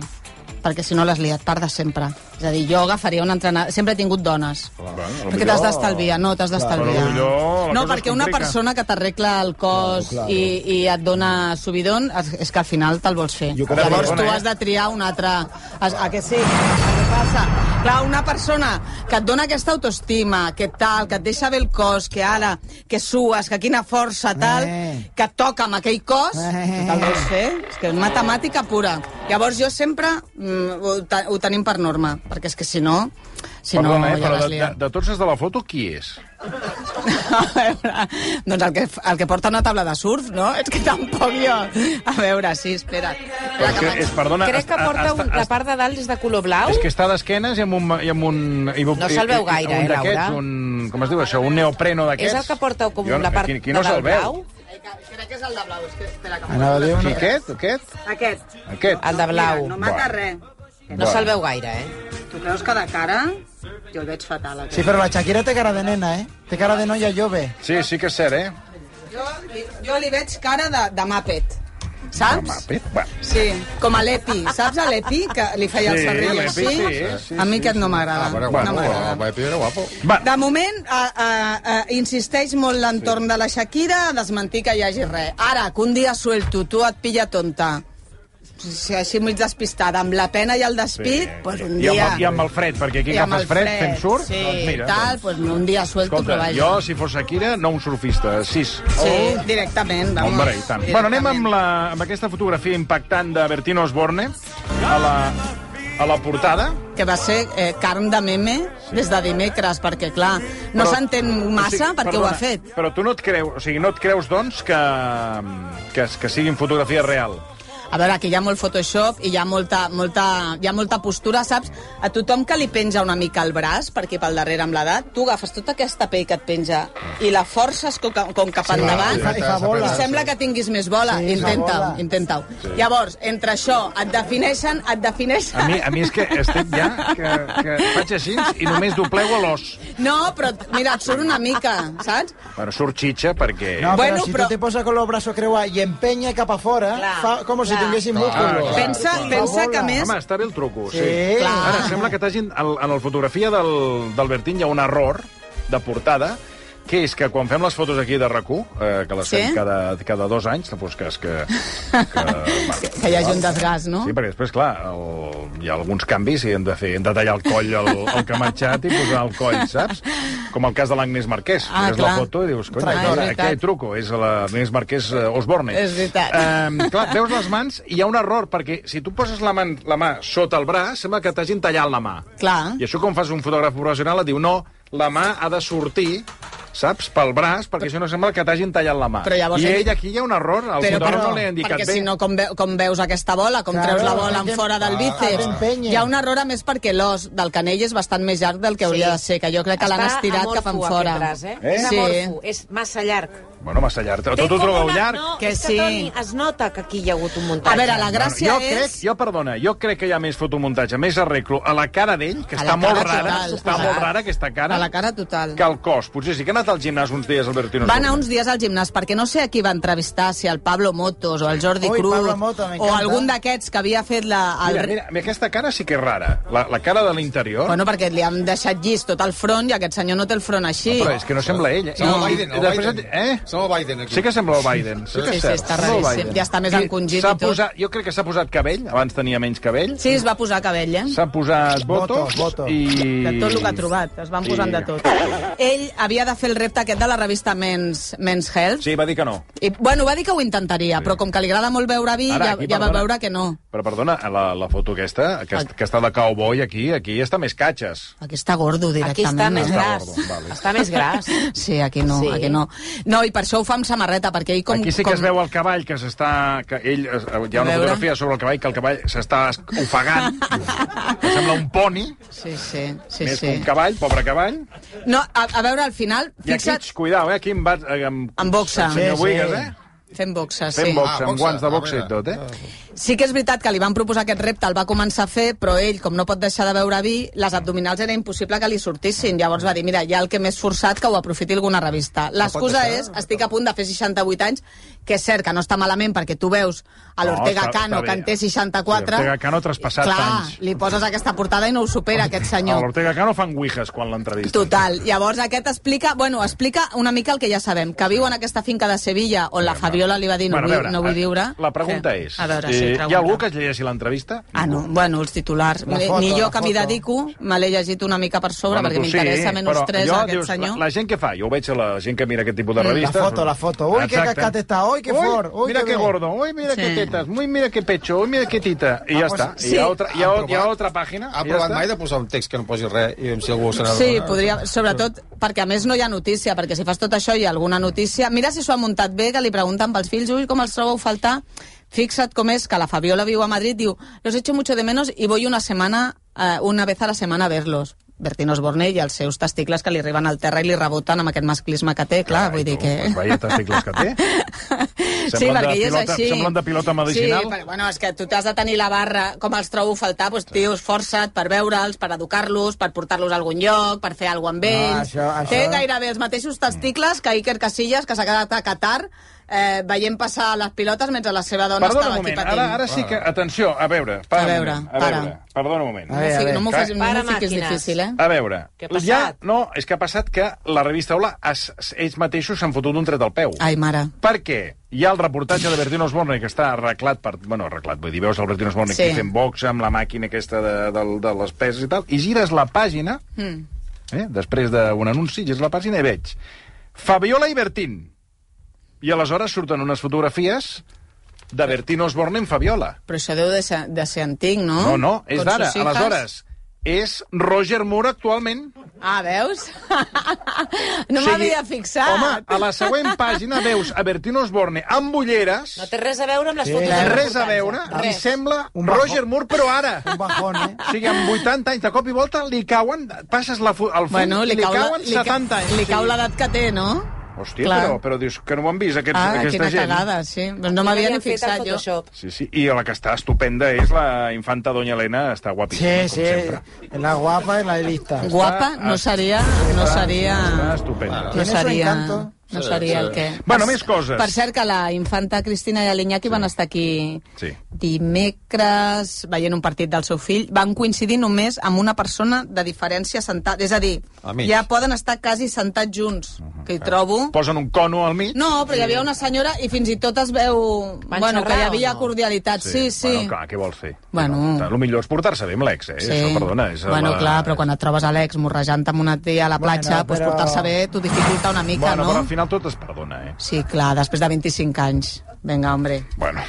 Speaker 1: perquè si no l'has liat part de sempre. És a dir, jo agafaria un entrenador... Sempre he tingut dones.
Speaker 2: Bueno,
Speaker 1: Perquè t'has d'estalviar, no, t'has d'estalviar.
Speaker 2: Però potser la
Speaker 1: No,
Speaker 2: cosa es
Speaker 1: perquè una
Speaker 2: complica.
Speaker 1: persona que t'arregla el cos
Speaker 4: Claro, claro.
Speaker 1: I, i et dona subidon, és, és que al final te'l vols fer.
Speaker 4: Jo crec que
Speaker 1: Llavors
Speaker 2: perdona,
Speaker 1: tu
Speaker 2: eh?
Speaker 1: has de triar un altre... A, a que sí? A què passa? Clar, una persona que et dona aquesta autoestima, que tal, que et deixa bé el cos, que ara, que sues, que quina força, tal,
Speaker 4: Eh.
Speaker 1: que et toca amb aquell cos,
Speaker 4: Eh.
Speaker 1: te'l vols fer? És que és matemàtica pura. Llavors jo sempre mm, ho, te- ho tenim per norma, perquè és que si no... Si no,
Speaker 2: Perdona,
Speaker 1: ja
Speaker 2: eh, però
Speaker 1: l'has
Speaker 2: de, de,
Speaker 1: liat.
Speaker 2: de tots els de la foto, qui és?
Speaker 1: A veure, doncs el que, el que porta una taula de surf, no? És que tampoc jo... A veure, sí, espera.
Speaker 2: Però és que, és, perdona,
Speaker 3: Crec que
Speaker 2: està-
Speaker 3: porta
Speaker 2: està-
Speaker 3: un, la part de dalt és de color blau.
Speaker 2: És que està d'esquenes i amb un... I amb un i,
Speaker 3: No se'l veu gaire,
Speaker 2: un
Speaker 3: eh, Laura?
Speaker 2: d'aquests, Un, com es diu això? Un neopreno
Speaker 3: És
Speaker 2: d'aquests?
Speaker 3: el que porta com
Speaker 2: Jo-
Speaker 3: la part
Speaker 2: qui, qui no
Speaker 3: de
Speaker 2: se'l
Speaker 3: dalt
Speaker 2: veu?
Speaker 3: blau.
Speaker 1: Crec que és el de blau, és que espera que...
Speaker 4: Anava a dir
Speaker 2: Qui,
Speaker 4: una...
Speaker 2: aquest? Aquest?
Speaker 1: Aquest,
Speaker 2: Aquest?
Speaker 3: El de blau.
Speaker 1: no
Speaker 3: No,
Speaker 1: mata
Speaker 2: mata
Speaker 1: res.
Speaker 3: se'l veu gaire, eh?
Speaker 1: Tu creus que de cara jo el veig fatal,
Speaker 4: Sí, però la Shakira té cara de nena, eh? Té cara de noia jove.
Speaker 2: Sí, sí que és cert, eh?
Speaker 1: Jo, li- jo li veig cara de, de Muppet,
Speaker 2: El
Speaker 1: saps?
Speaker 2: Muppet? Va.
Speaker 1: Sí, com a l'Epi. Saps a l'Epi, que li feia el
Speaker 2: Sí,
Speaker 1: serrell
Speaker 2: l'Epi,
Speaker 1: així?
Speaker 2: sí, sí,
Speaker 1: a mi aquest no m'agrada.
Speaker 5: Ah, bueno,
Speaker 1: no
Speaker 5: bueno,
Speaker 1: m'agrada.
Speaker 5: el Pepe era guapo.
Speaker 2: Va.
Speaker 1: De moment, a, a, a, insisteix molt l'entorn de la Shakira a desmentir que hi hagi res. Ara, que un dia suelto, tu et pilla tonta. Si així mig despistada, amb la pena i el despit, sí. pues un
Speaker 2: I
Speaker 1: dia...
Speaker 2: amb, el- I amb el fred, perquè aquí
Speaker 1: i
Speaker 2: cap
Speaker 1: amb
Speaker 2: es fred, fem surt.
Speaker 1: Sí,
Speaker 2: doncs mira,
Speaker 1: tal, pues un dia suelto,
Speaker 2: Escolta,
Speaker 1: però vaja.
Speaker 2: jo, si fos Shakira, no un surfista, sis. Oh,
Speaker 1: Sí, directament. Vamos,
Speaker 2: Hombre, i tant. Bueno, anem amb, la, amb aquesta fotografia impactant de Bertino Osborne a la, a la portada.
Speaker 1: Que va ser eh, carn de meme des de dimecres, perquè, clar, no
Speaker 2: Però-
Speaker 1: s'entén massa
Speaker 2: o sigui,
Speaker 1: perquè ho ha
Speaker 2: perdona,
Speaker 1: fet.
Speaker 2: Però tu no et creus, o sigui, no et creus, doncs, que, que, que siguin fotografia real.
Speaker 1: A veure, que hi ha molt Photoshop i hi ha molta, molta, hi ha molta postura, saps? A tothom que li penja una mica el braç, perquè pel darrere amb l'edat, tu agafes tota aquesta pell que et penja i la forces com, com cap
Speaker 5: Ah,
Speaker 1: endavant.
Speaker 4: fa- i fa bola.
Speaker 1: I sembla que tinguis més bola.
Speaker 4: Sí,
Speaker 1: intenta-ho,
Speaker 4: bola.
Speaker 1: intenta-ho. Llavors, entre això, et defineixen, et defineixen...
Speaker 2: A mi, a mi és que estic ja, que, que faig així i només doplego l'os.
Speaker 1: No, però mira, et surt una mica, saps?
Speaker 2: Bueno, surt xitxa perquè...
Speaker 4: No,
Speaker 1: Bueno,
Speaker 4: però si
Speaker 1: però-
Speaker 4: tu te posa con los brazos creuats i empenya cap a fora,
Speaker 1: Clar,
Speaker 4: fa com si
Speaker 1: clar.
Speaker 4: tinguessin
Speaker 5: Clar,
Speaker 4: músculo.
Speaker 5: clar.
Speaker 1: Pensa,
Speaker 4: Fa
Speaker 1: pensa
Speaker 4: bola.
Speaker 1: que a més...
Speaker 2: Home, està bé el truco, sí.
Speaker 4: Sí. Clar.
Speaker 2: Ara, sembla que t'hagin... En, en la fotografia del- d'Albertín hi ha un error de portada, que és que quan fem les fotos aquí de rac eh, que les
Speaker 1: Sí?
Speaker 2: fem cada, cada dos anys, doncs que, és que, que, que
Speaker 1: Que hi hagi un desgast, no?
Speaker 2: Sí, perquè després, clar, el, hi ha alguns canvis i hem de fer, hem de tallar el coll al al que ha marxat i posar el coll, saps? Com el cas de l'Agnès Marquès.
Speaker 1: Ah,
Speaker 2: Mires
Speaker 1: clar.
Speaker 2: la foto i dius, cony,
Speaker 1: Traïdora. Ah, és
Speaker 2: ah,
Speaker 1: veritat.
Speaker 2: què truco? És l'Agnès Marquès eh, Osborne.
Speaker 1: És veritat.
Speaker 2: Eh, clar, veus les mans i hi ha un error, perquè si tu poses la, man, la mà sota el braç, sembla que t'hagin tallat la mà.
Speaker 1: Clar.
Speaker 2: I això, com fas un fotògraf professional, et diu, no, la mà ha de sortir saps? Pel braç, perquè això no sembla que t'hagin tallat la mà.
Speaker 1: Però llavors
Speaker 2: I
Speaker 1: ell-
Speaker 2: ell aquí hi ha un error, el
Speaker 1: Però,
Speaker 2: fotògraf
Speaker 1: però,
Speaker 2: no li han indicat
Speaker 1: perquè
Speaker 2: bé.
Speaker 1: si no, com, ve, com veus aquesta bola, com
Speaker 4: Claro,
Speaker 1: treus la bola en
Speaker 4: que-
Speaker 1: fora del
Speaker 4: ah,
Speaker 1: bíceps,
Speaker 4: t'empenya.
Speaker 1: hi ha un error a més perquè l'os del canell és bastant més llarg del que hauria de ser, que jo crec que l'han estirat cap en fora.
Speaker 3: Braç, eh? És
Speaker 1: Sí.
Speaker 3: amorfo, és massa llarg.
Speaker 2: Bueno, massa llarg. Tot
Speaker 6: Té
Speaker 2: ho
Speaker 6: com
Speaker 2: trobeu
Speaker 6: una-
Speaker 2: llarg?
Speaker 6: No,
Speaker 1: Que
Speaker 6: és
Speaker 1: sí.
Speaker 6: que, Toni, es nota que aquí hi ha hagut un muntatge.
Speaker 1: A veure, la gràcia
Speaker 2: jo crec,
Speaker 1: és...
Speaker 2: jo, perdona, jo crec que hi ha més fotomuntatge, més arreglo a la cara d'ell, que
Speaker 1: A la
Speaker 2: està molt
Speaker 1: cara
Speaker 2: rara,
Speaker 1: total,
Speaker 2: està
Speaker 1: total.
Speaker 2: molt rara aquesta cara,
Speaker 1: A la cara total.
Speaker 2: que el cos. Potser sí que ha anat al gimnàs uns dies, Albertino.
Speaker 1: Va anar uns dies al gimnàs, perquè no sé a qui va entrevistar, si al Pablo Motos o al Jordi
Speaker 4: Ui,
Speaker 1: Cruz,
Speaker 4: Pablo Mota,
Speaker 1: o
Speaker 4: m'encanta.
Speaker 1: algun d'aquests que havia fet la... El...
Speaker 2: Mira, mira, aquesta cara sí que és rara. La, la cara de l'interior...
Speaker 1: Bueno, perquè li han deixat llis tot el front i aquest senyor no té el front així.
Speaker 2: Però és que no sembla ell. eh?
Speaker 5: Sembla
Speaker 2: I-
Speaker 5: Biden,
Speaker 2: i
Speaker 5: el
Speaker 2: després-
Speaker 5: Biden.
Speaker 2: Eh?
Speaker 5: Sembla Biden, aquí.
Speaker 2: Sí que sembla el Biden. Sí, que
Speaker 1: Sí, sí,
Speaker 2: és cert.
Speaker 1: està
Speaker 2: Sembla el
Speaker 1: raríssim.
Speaker 2: Biden.
Speaker 1: Ja està més
Speaker 2: I
Speaker 1: encongit
Speaker 2: s'ha
Speaker 1: i tot.
Speaker 2: Posat, jo crec que s'ha posat cabell, abans tenia menys cabell.
Speaker 1: Sí, es va posar cabell, eh?
Speaker 2: S'ha posat botox,
Speaker 4: Botox, botox.
Speaker 2: i...
Speaker 1: De tot el que ha trobat, es van
Speaker 2: Mm. Sí.
Speaker 1: posant de tot. Ell havia de fer el repte aquest de la revista Men's, Men's Health,
Speaker 2: Sí, va dir que no.
Speaker 1: i, bueno, va dir que ho intentaria, però com que li agrada molt beure vi,
Speaker 2: Ara,
Speaker 1: ja,
Speaker 2: aquí,
Speaker 1: ja va
Speaker 2: perdona.
Speaker 1: veure que no.
Speaker 2: Però perdona, la, la foto aquesta, que, est- que està de cowboy aquí, aquí està més catxes.
Speaker 1: Aquí està gordo,
Speaker 3: Aquí
Speaker 1: directament.
Speaker 3: està més
Speaker 1: eh?
Speaker 3: gras.
Speaker 2: gordo, vale.
Speaker 3: Està més gras.
Speaker 1: Sí, aquí no, sí.
Speaker 3: Sí.
Speaker 1: aquí no. No, i per això ho fa amb samarreta, perquè ell com...
Speaker 2: aquí sí que
Speaker 1: com...
Speaker 2: es veu el cavall que s'està... que ell es- Hi ha
Speaker 1: A
Speaker 2: una
Speaker 1: veure.
Speaker 2: fotografia sobre el cavall que el cavall s'està es- ofegant. que sembla un poni,
Speaker 1: Sí, sí, sí.
Speaker 2: més que
Speaker 1: sí.
Speaker 2: un cavall, pobre cavall.
Speaker 1: No, a, a veure, al final,
Speaker 2: I aquí,
Speaker 1: fixa't...
Speaker 2: ets, cuidao, eh? Aquí em va... eh, Amb,
Speaker 1: En boxa.
Speaker 2: El senyor
Speaker 4: Sí, sí.
Speaker 2: Buigas, eh?
Speaker 1: Fent boxa, sí.
Speaker 2: Fent boxa,
Speaker 5: Ah,
Speaker 2: amb
Speaker 5: boxa,
Speaker 2: guants de
Speaker 5: a
Speaker 2: boxa i
Speaker 5: veure.
Speaker 2: tot, eh?
Speaker 1: Ah, Sí que és veritat que li van proposar aquest repte, el va començar a fer, però ell, com no pot deixar de beure vi, les abdominals era impossible que li sortissin. Llavors va dir, mira, ja el que més forçat que ho aprofiti alguna revista. L'excusa és, estic a punt de fer 68 anys, que és cert que no està malament, perquè tu veus a l'Ortega
Speaker 2: No, està-
Speaker 1: Cano,
Speaker 2: està bé.
Speaker 1: que en té 64...
Speaker 2: Sí, Ortega Cano ha traspassat
Speaker 1: Clar,
Speaker 2: anys.
Speaker 1: li poses aquesta portada i no ho supera, aquest
Speaker 2: A
Speaker 1: senyor.
Speaker 2: l'Ortega Cano fan guijas quan l'entrevisten.
Speaker 1: Total. Llavors aquest explica, bueno, explica una mica el que ja sabem, que viu en aquesta finca de Sevilla on la Fabiola li va dir no,
Speaker 2: Bueno, a
Speaker 1: vull,
Speaker 2: veure,
Speaker 1: no vull
Speaker 2: eh,
Speaker 1: viure.
Speaker 2: La pregunta
Speaker 1: Què?
Speaker 2: és,
Speaker 1: A veure, sí,
Speaker 2: eh,
Speaker 1: pregunta.
Speaker 2: hi ha algú que es llegeixi l'entrevista?
Speaker 1: Ah, no, bueno, els titulars.
Speaker 4: La foto,
Speaker 1: Ni jo
Speaker 4: la
Speaker 1: que m'hi
Speaker 4: foto.
Speaker 1: dedico, me l'he llegit una mica per sobre,
Speaker 2: Bueno,
Speaker 1: perquè
Speaker 2: tu sí,
Speaker 1: m'interessa menys
Speaker 2: però
Speaker 1: 3
Speaker 2: jo,
Speaker 1: a aquest
Speaker 2: dius,
Speaker 1: senyor.
Speaker 2: La, la gent que fa, jo ho veig a la gent que mira aquest tipus de revistes.
Speaker 4: Mm, la foto, la foto. Ui, que cacat està, ui, que fort, ui,
Speaker 2: mira
Speaker 4: que
Speaker 2: que
Speaker 4: bé.
Speaker 2: gordo, ui, mira
Speaker 1: Sí. Ah,
Speaker 2: que tetes, ui, mira que pecho, ui, mira que tita. I ja
Speaker 4: pues,
Speaker 2: està. I
Speaker 1: sí.
Speaker 2: hi ha, otra, hi ha,
Speaker 5: Ha
Speaker 2: hi ha
Speaker 5: provat-
Speaker 2: altra pàgina.
Speaker 5: Ha
Speaker 2: i ja
Speaker 5: provat
Speaker 2: està.
Speaker 5: mai de posar un text que no posi res i si algú se n'ha
Speaker 1: Sí,
Speaker 5: adonat?
Speaker 1: podria, sobretot perquè a més no hi ha notícia, perquè si fas tot això hi ha alguna notícia. Mira si s'ho ha muntat bé, que li pregunten pels fills, ui, com els trobeu faltar? Fixa't com és que la Fabiola viu a Madrid, diu, los echo mucho de menos y voy una semana, eh, una vez a la setmana a verlos. Bertín Osborne i els seus testicles que li arriben al terra i li reboten amb aquest masclisme que té, clar, vull dir
Speaker 2: tu,
Speaker 1: que...
Speaker 2: Pues veia testicles que té.
Speaker 1: sí,
Speaker 2: Semblen de
Speaker 1: perquè ell és
Speaker 2: pilota-
Speaker 1: així.
Speaker 2: semblen de pilota medicinal.
Speaker 1: Sí, però, bueno, és que tu t'has de tenir la barra, com els trobo faltar, doncs, tios, força't per veure'ls, per educar-los, per portar-los a algun lloc, per fer alguna cosa amb ells.
Speaker 4: No, això-
Speaker 1: Té
Speaker 4: això-
Speaker 1: gairebé els
Speaker 2: Mm.
Speaker 1: mateixos testicles que Iker Casillas, que s'ha quedat a Qatar, eh, veient passar les pilotes mentre la seva dona
Speaker 2: Perdona un
Speaker 1: estava
Speaker 2: moment,
Speaker 1: aquí patint.
Speaker 2: ara, ara sí que... Atenció, a veure, para
Speaker 1: A veure,
Speaker 2: un moment, a
Speaker 1: para.
Speaker 2: veure. Perdona un moment.
Speaker 4: A veure,
Speaker 1: sí,
Speaker 4: a
Speaker 1: no m'ho
Speaker 2: veure.
Speaker 1: facis- no
Speaker 3: Para
Speaker 1: m'ho fiquis
Speaker 3: màquines.
Speaker 1: difícil, eh?
Speaker 2: A veure,
Speaker 3: Què ha passat?
Speaker 2: ja, no, és que ha passat que la revista Ola es, ells mateixos s'han fotut un tret al peu.
Speaker 1: Ai, mare.
Speaker 2: Per què? Hi ha el reportatge de Bertino Osborne que està arreglat per... Bueno, arreglat, vull dir, veus el Bertino Osborne
Speaker 1: Sí.
Speaker 2: sí. fent boxa amb la màquina aquesta de, de, de les peses i tal, i gires la pàgina,
Speaker 1: Mm.
Speaker 2: eh, després d'un anunci, gires la pàgina i veig Fabiola i Bertín. I aleshores surten unes fotografies de Bertino Osborne en Fabiola.
Speaker 1: Però això deu de ser, de ser antic, no?
Speaker 2: No, no, és
Speaker 1: Con
Speaker 2: d'ara.
Speaker 1: Ah, sus hijas.
Speaker 2: Aleshores, és Roger Moore actualment.
Speaker 1: Ah, veus? no
Speaker 2: O sigui,
Speaker 1: m'havia fixat.
Speaker 2: Home, a la següent pàgina veus a Bertino Osborne amb ulleres,
Speaker 3: No té res a veure amb les fotos.
Speaker 4: res
Speaker 3: del
Speaker 2: res a
Speaker 3: reportatge.
Speaker 2: veure, i
Speaker 3: Res.
Speaker 2: sembla
Speaker 4: Un bajó.
Speaker 2: Roger Moore, però ara.
Speaker 4: Un bajón, eh?
Speaker 2: O sigui, amb 80 anys, de cop i volta, li cauen... Passes la, fu- al fons
Speaker 1: Bueno, li,
Speaker 2: i li
Speaker 1: cau la-
Speaker 2: cauen
Speaker 1: li ca-
Speaker 2: 70
Speaker 4: eh?
Speaker 2: anys.
Speaker 1: Li cau l'edat que té, no?
Speaker 2: Hòstia,
Speaker 1: Clar.
Speaker 2: però, però dius que no ho han vist, aquests,
Speaker 1: Ah,
Speaker 2: aquesta
Speaker 1: quina
Speaker 2: gent.
Speaker 1: cagada, sí. Doncs no
Speaker 3: Li
Speaker 1: m'havia ni
Speaker 3: havien fet el
Speaker 1: fixat jo.
Speaker 3: Photoshop.
Speaker 2: Sí, sí, i la que està estupenda és la infanta Doña Elena, està guapíssima, com
Speaker 4: Sí, sí.
Speaker 2: sempre.
Speaker 4: La guapa y la lista.
Speaker 1: Guapa
Speaker 2: Ah,
Speaker 1: no seria... No
Speaker 2: Està
Speaker 1: seria...
Speaker 2: estupenda.
Speaker 1: No
Speaker 4: Tiene su
Speaker 1: seria,
Speaker 4: encanto.
Speaker 1: no seria el que...
Speaker 2: ah, Bueno, més coses.
Speaker 1: Per cert, que la infanta Cristina i l'Iñaki van estar aquí
Speaker 2: Sí.
Speaker 1: dimecres veient un partit del seu fill. Van coincidir només amb una persona de diferència sentat. És a dir,
Speaker 5: Amics.
Speaker 1: ja poden estar quasi sentats junts,
Speaker 2: Mhm.
Speaker 1: que hi trobo...
Speaker 2: Posen un cono al mig.
Speaker 1: No, però hi havia una senyora i fins i tot es veu...
Speaker 3: Van
Speaker 1: bueno, que
Speaker 3: xerrar
Speaker 1: hi
Speaker 3: o
Speaker 1: havia
Speaker 3: no?
Speaker 1: cordialitat, sí, sí.
Speaker 2: Bueno, clar, què vols fer?
Speaker 1: Bueno.
Speaker 2: No, el millor és portar-se bé amb l'ex, eh? Això, perdona, és eh,
Speaker 1: bueno,
Speaker 2: la...
Speaker 1: clar, però quan et trobes a l'ex morrejant amb una tia a la
Speaker 4: Bueno,
Speaker 1: platja, doncs
Speaker 4: però-
Speaker 1: portar-se bé t'ho dificulta una mica,
Speaker 2: Bueno, però
Speaker 1: no?
Speaker 2: al final tot es perdona, eh?
Speaker 1: Sí, clar, després de 25 anys. Vinga, hombre,
Speaker 2: Bueno,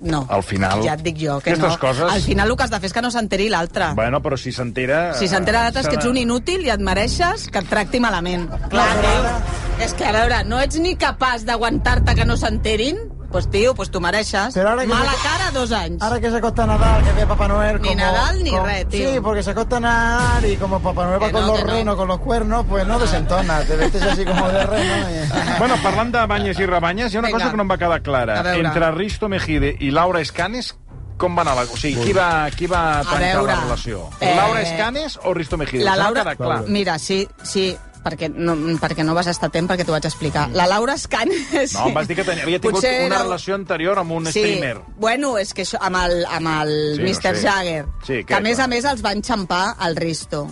Speaker 1: no.
Speaker 2: Al final-
Speaker 1: Ja et dic jo que
Speaker 2: Aquestes
Speaker 1: no.
Speaker 2: coses-
Speaker 1: Al final el que has de fer és que no s'enteri l'altre.
Speaker 2: bueno però si s'entera...
Speaker 1: Ah. Si s'entera l'altre
Speaker 2: eh,
Speaker 1: és que ets un inútil i et mereixes que et tracti malament. Clar, no, és que, a veure, no ets ni capaç d'aguantar-te que no s'enterin? pues tio, pues tu mereixes.
Speaker 4: Però ara que-
Speaker 1: Mala cara, dos anys.
Speaker 4: Ahora que se acosta Nadal, que ve a Papá Noel
Speaker 1: Ni
Speaker 4: como...
Speaker 1: Nadal ni
Speaker 4: como-
Speaker 1: re, tío.
Speaker 4: Sí, porque se acosta Nadal y como Papá Noel va
Speaker 1: Que
Speaker 4: con
Speaker 1: no,
Speaker 4: los
Speaker 1: que no.
Speaker 4: renos, con los cuernos, pues no desentona. Te vestes así como de reno y...
Speaker 2: Bueno, parlant de banyes i rebanyes, hi ha una
Speaker 1: Vinga.
Speaker 2: cosa que no em va quedar clara.
Speaker 1: A veure.
Speaker 2: Entre Risto Mejide i Laura Escanes, com va anar la... O sigui, qui va, qui va tancar
Speaker 1: veure.
Speaker 2: la relació?
Speaker 1: Eh,
Speaker 2: Laura Escanes o Risto Mejide?
Speaker 1: La
Speaker 2: Em sembla
Speaker 1: Laura...
Speaker 2: que era clar.
Speaker 1: Mira, sí, sí, perquè no, perquè no vas estar a temps perquè t'ho vaig explicar. La Laura Escanes...
Speaker 2: No, em vas dir que tenia, havia tingut
Speaker 1: Potser
Speaker 2: una
Speaker 1: era-
Speaker 2: relació anterior amb un streamer.
Speaker 1: Bueno, és que això, amb el, amb el
Speaker 2: Sí,
Speaker 1: sí,
Speaker 2: no
Speaker 1: Mr.
Speaker 2: sé.
Speaker 1: Jagger,
Speaker 2: Sí,
Speaker 1: que a
Speaker 2: què,
Speaker 1: més
Speaker 2: clar.
Speaker 1: a més els va enxampar al Risto.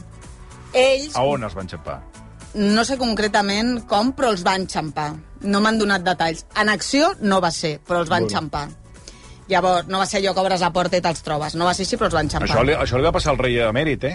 Speaker 1: Ells,
Speaker 2: A on es van xapar?
Speaker 1: no sé concretament com, però els va enxampar. No m'han donat detalls. En acció no va ser, però els va enxampar. Llavors, no va ser allò que obres la porta i te'ls trobes. No va ser així, però els va enxampar.
Speaker 2: Això li, això li va passar al rei emèrit, eh?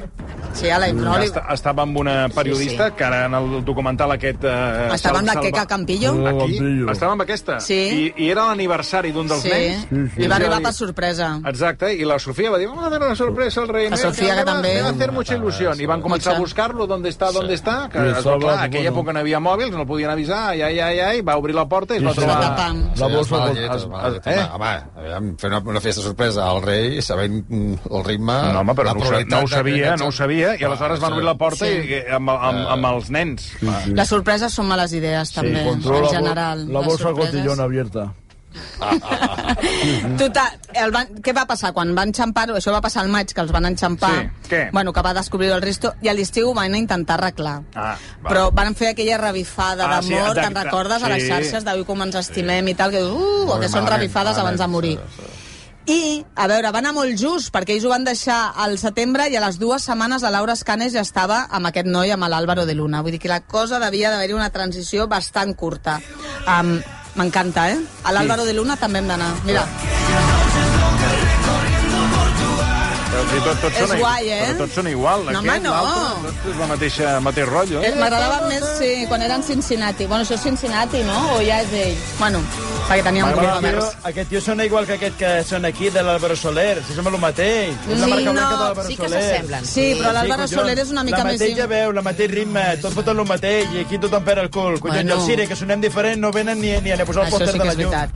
Speaker 1: Sí, a la
Speaker 2: No,
Speaker 1: no, li...
Speaker 2: Est estava amb una periodista, sí, sí. que ara en el documental aquest... Eh,
Speaker 1: Estava amb la
Speaker 2: Sal-
Speaker 1: Queca
Speaker 2: Salva- Mm.
Speaker 1: Campillo.
Speaker 2: Aquí? Estava amb aquesta?
Speaker 1: Sí.
Speaker 2: I, i era l'aniversari d'un dels
Speaker 1: Sí,
Speaker 2: nens?
Speaker 1: li va arribar per
Speaker 2: sorpresa.
Speaker 1: sorpresa.
Speaker 2: Exacte, i la Sofia va dir, vamos a hacer una sorpresa al rei.
Speaker 1: La Sofia, que també.
Speaker 2: Me va hacer mucha ilusión. I van començar a
Speaker 1: Mucha.
Speaker 2: buscar-lo, ¿dónde está, dónde está? Que,
Speaker 7: I
Speaker 2: es va,
Speaker 7: Salva,
Speaker 2: clar, en aquella
Speaker 7: bueno.
Speaker 2: època no hi havia mòbils, no el podien avisar, ai, ai, ai, ai, va obrir la porta i es va
Speaker 7: sí, va
Speaker 2: trobar...
Speaker 1: tapar.
Speaker 7: La
Speaker 5: Sí,
Speaker 7: bolsa...
Speaker 5: es va
Speaker 7: vol-
Speaker 5: llet,
Speaker 7: es-
Speaker 5: es va llet.
Speaker 7: es- eh?
Speaker 5: Home, home, aviam, fer una, una festa sorpresa al rei, sabent mm, el ritme...
Speaker 2: No, home, però
Speaker 5: la
Speaker 2: no ho, sa-
Speaker 5: probabilitat
Speaker 2: no ho
Speaker 5: de
Speaker 2: sabia,
Speaker 5: que-
Speaker 2: no ho sabia, i
Speaker 5: Ah,
Speaker 2: aleshores van
Speaker 5: sí.
Speaker 2: obrir la porta sí. i, i amb, amb, amb els nens.
Speaker 1: Les sorpreses són males idees, també, en
Speaker 7: la, bol-
Speaker 1: general.
Speaker 7: la
Speaker 1: Les
Speaker 7: bolsa
Speaker 1: sorpreses.
Speaker 7: cotillona abierta.
Speaker 1: Total, Tota, el van, què va passar? Quan van enxampar-ho, això va passar al maig, que els van enxampar,
Speaker 2: Sí, què?
Speaker 1: Bueno, que va descobrir el Risto, i a l'estiu ho van intentar arreglar.
Speaker 2: Ah, va.
Speaker 1: Però van fer aquella revifada
Speaker 2: Ah, sí,
Speaker 1: d'amor, te'n
Speaker 2: exacte,
Speaker 1: recordes, a les
Speaker 2: sí.
Speaker 1: xarxes d'avui com ens estimem i tal, que, dius, uh,
Speaker 5: Molt
Speaker 1: que són
Speaker 5: malament,
Speaker 1: revifades
Speaker 5: malament,
Speaker 1: abans de morir.
Speaker 5: sí, sí.
Speaker 1: I, a veure, va anar molt just, perquè ells ho van deixar al setembre i a les dues setmanes la Laura Escanes ja estava amb aquest noi, amb l'Àlvaro de Luna. Vull dir que la cosa devia d'haver-hi una transició bastant curta. Um, M'encanta, eh? A l'Àlvaro de Luna també hem d'anar. Mira,
Speaker 2: Però si tot, tot
Speaker 1: És
Speaker 2: sona, i-
Speaker 1: guai, eh?
Speaker 2: Però tots són igual,
Speaker 1: No, home,
Speaker 2: aquest,
Speaker 1: no.
Speaker 2: l'altre, tot és la mateixa, mateix rotllo. Eh?
Speaker 1: m'agradava més sí, quan eren Cincinnati. Bueno, això és Cincinnati, no? O ja és d'ell? Bueno, perquè teníem un
Speaker 8: Aquest
Speaker 1: problema.
Speaker 8: tio, aquest tio sona igual que aquest que sona aquí, de l'Àlvaro Soler. Si sembla el mateix. És la
Speaker 1: Sí,
Speaker 8: marca
Speaker 1: no,
Speaker 8: blanca de l'Àlvaro
Speaker 6: Sí que
Speaker 8: Soler.
Speaker 6: s'assemblen.
Speaker 1: Sí, però l'Àlvaro
Speaker 8: collons.
Speaker 1: Soler és una mica
Speaker 8: la
Speaker 1: més...
Speaker 8: mateixa
Speaker 1: in-
Speaker 8: veu, la mateix ritme, tot foten el mateix, i aquí tothom perd el cul. Collons,
Speaker 1: Bueno.
Speaker 8: bueno. i el Cire, que sonem diferent, no venen ni, ni a posar el
Speaker 1: Això
Speaker 8: pòster
Speaker 1: sí
Speaker 8: de
Speaker 1: que
Speaker 8: la
Speaker 1: és
Speaker 8: llum.
Speaker 1: veritat.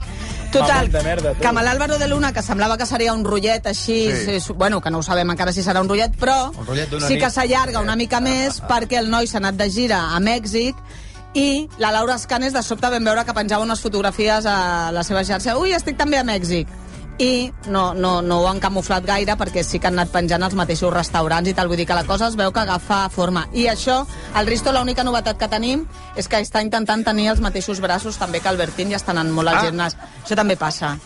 Speaker 1: Total,
Speaker 8: Mamut de merda, tu.
Speaker 1: que amb l'Àlvaro de Luna, que semblava que seria un rotllet així, sí.
Speaker 2: Sí.
Speaker 1: bueno, que no ho sabem encara si serà un rotllet, però
Speaker 5: Un rotllet d'una
Speaker 1: sí que
Speaker 5: nit.
Speaker 1: s'allarga una mica més perquè el noi s'ha anat de gira a Mèxic i la Laura Escanes de sobte vam veure que penjava unes fotografies a la seva xarxa. Ui, estic també a Mèxic. I no, no, no ho han camuflat gaire perquè sí que han anat penjant als mateixos restaurants i tal. Vull dir que la cosa es veu que agafa forma. I això, el Risto, l'única novetat que tenim és que està intentant tenir els mateixos braços també que Albertín i estan anant molt al
Speaker 2: Ah.
Speaker 1: gimnàs. Això també passa.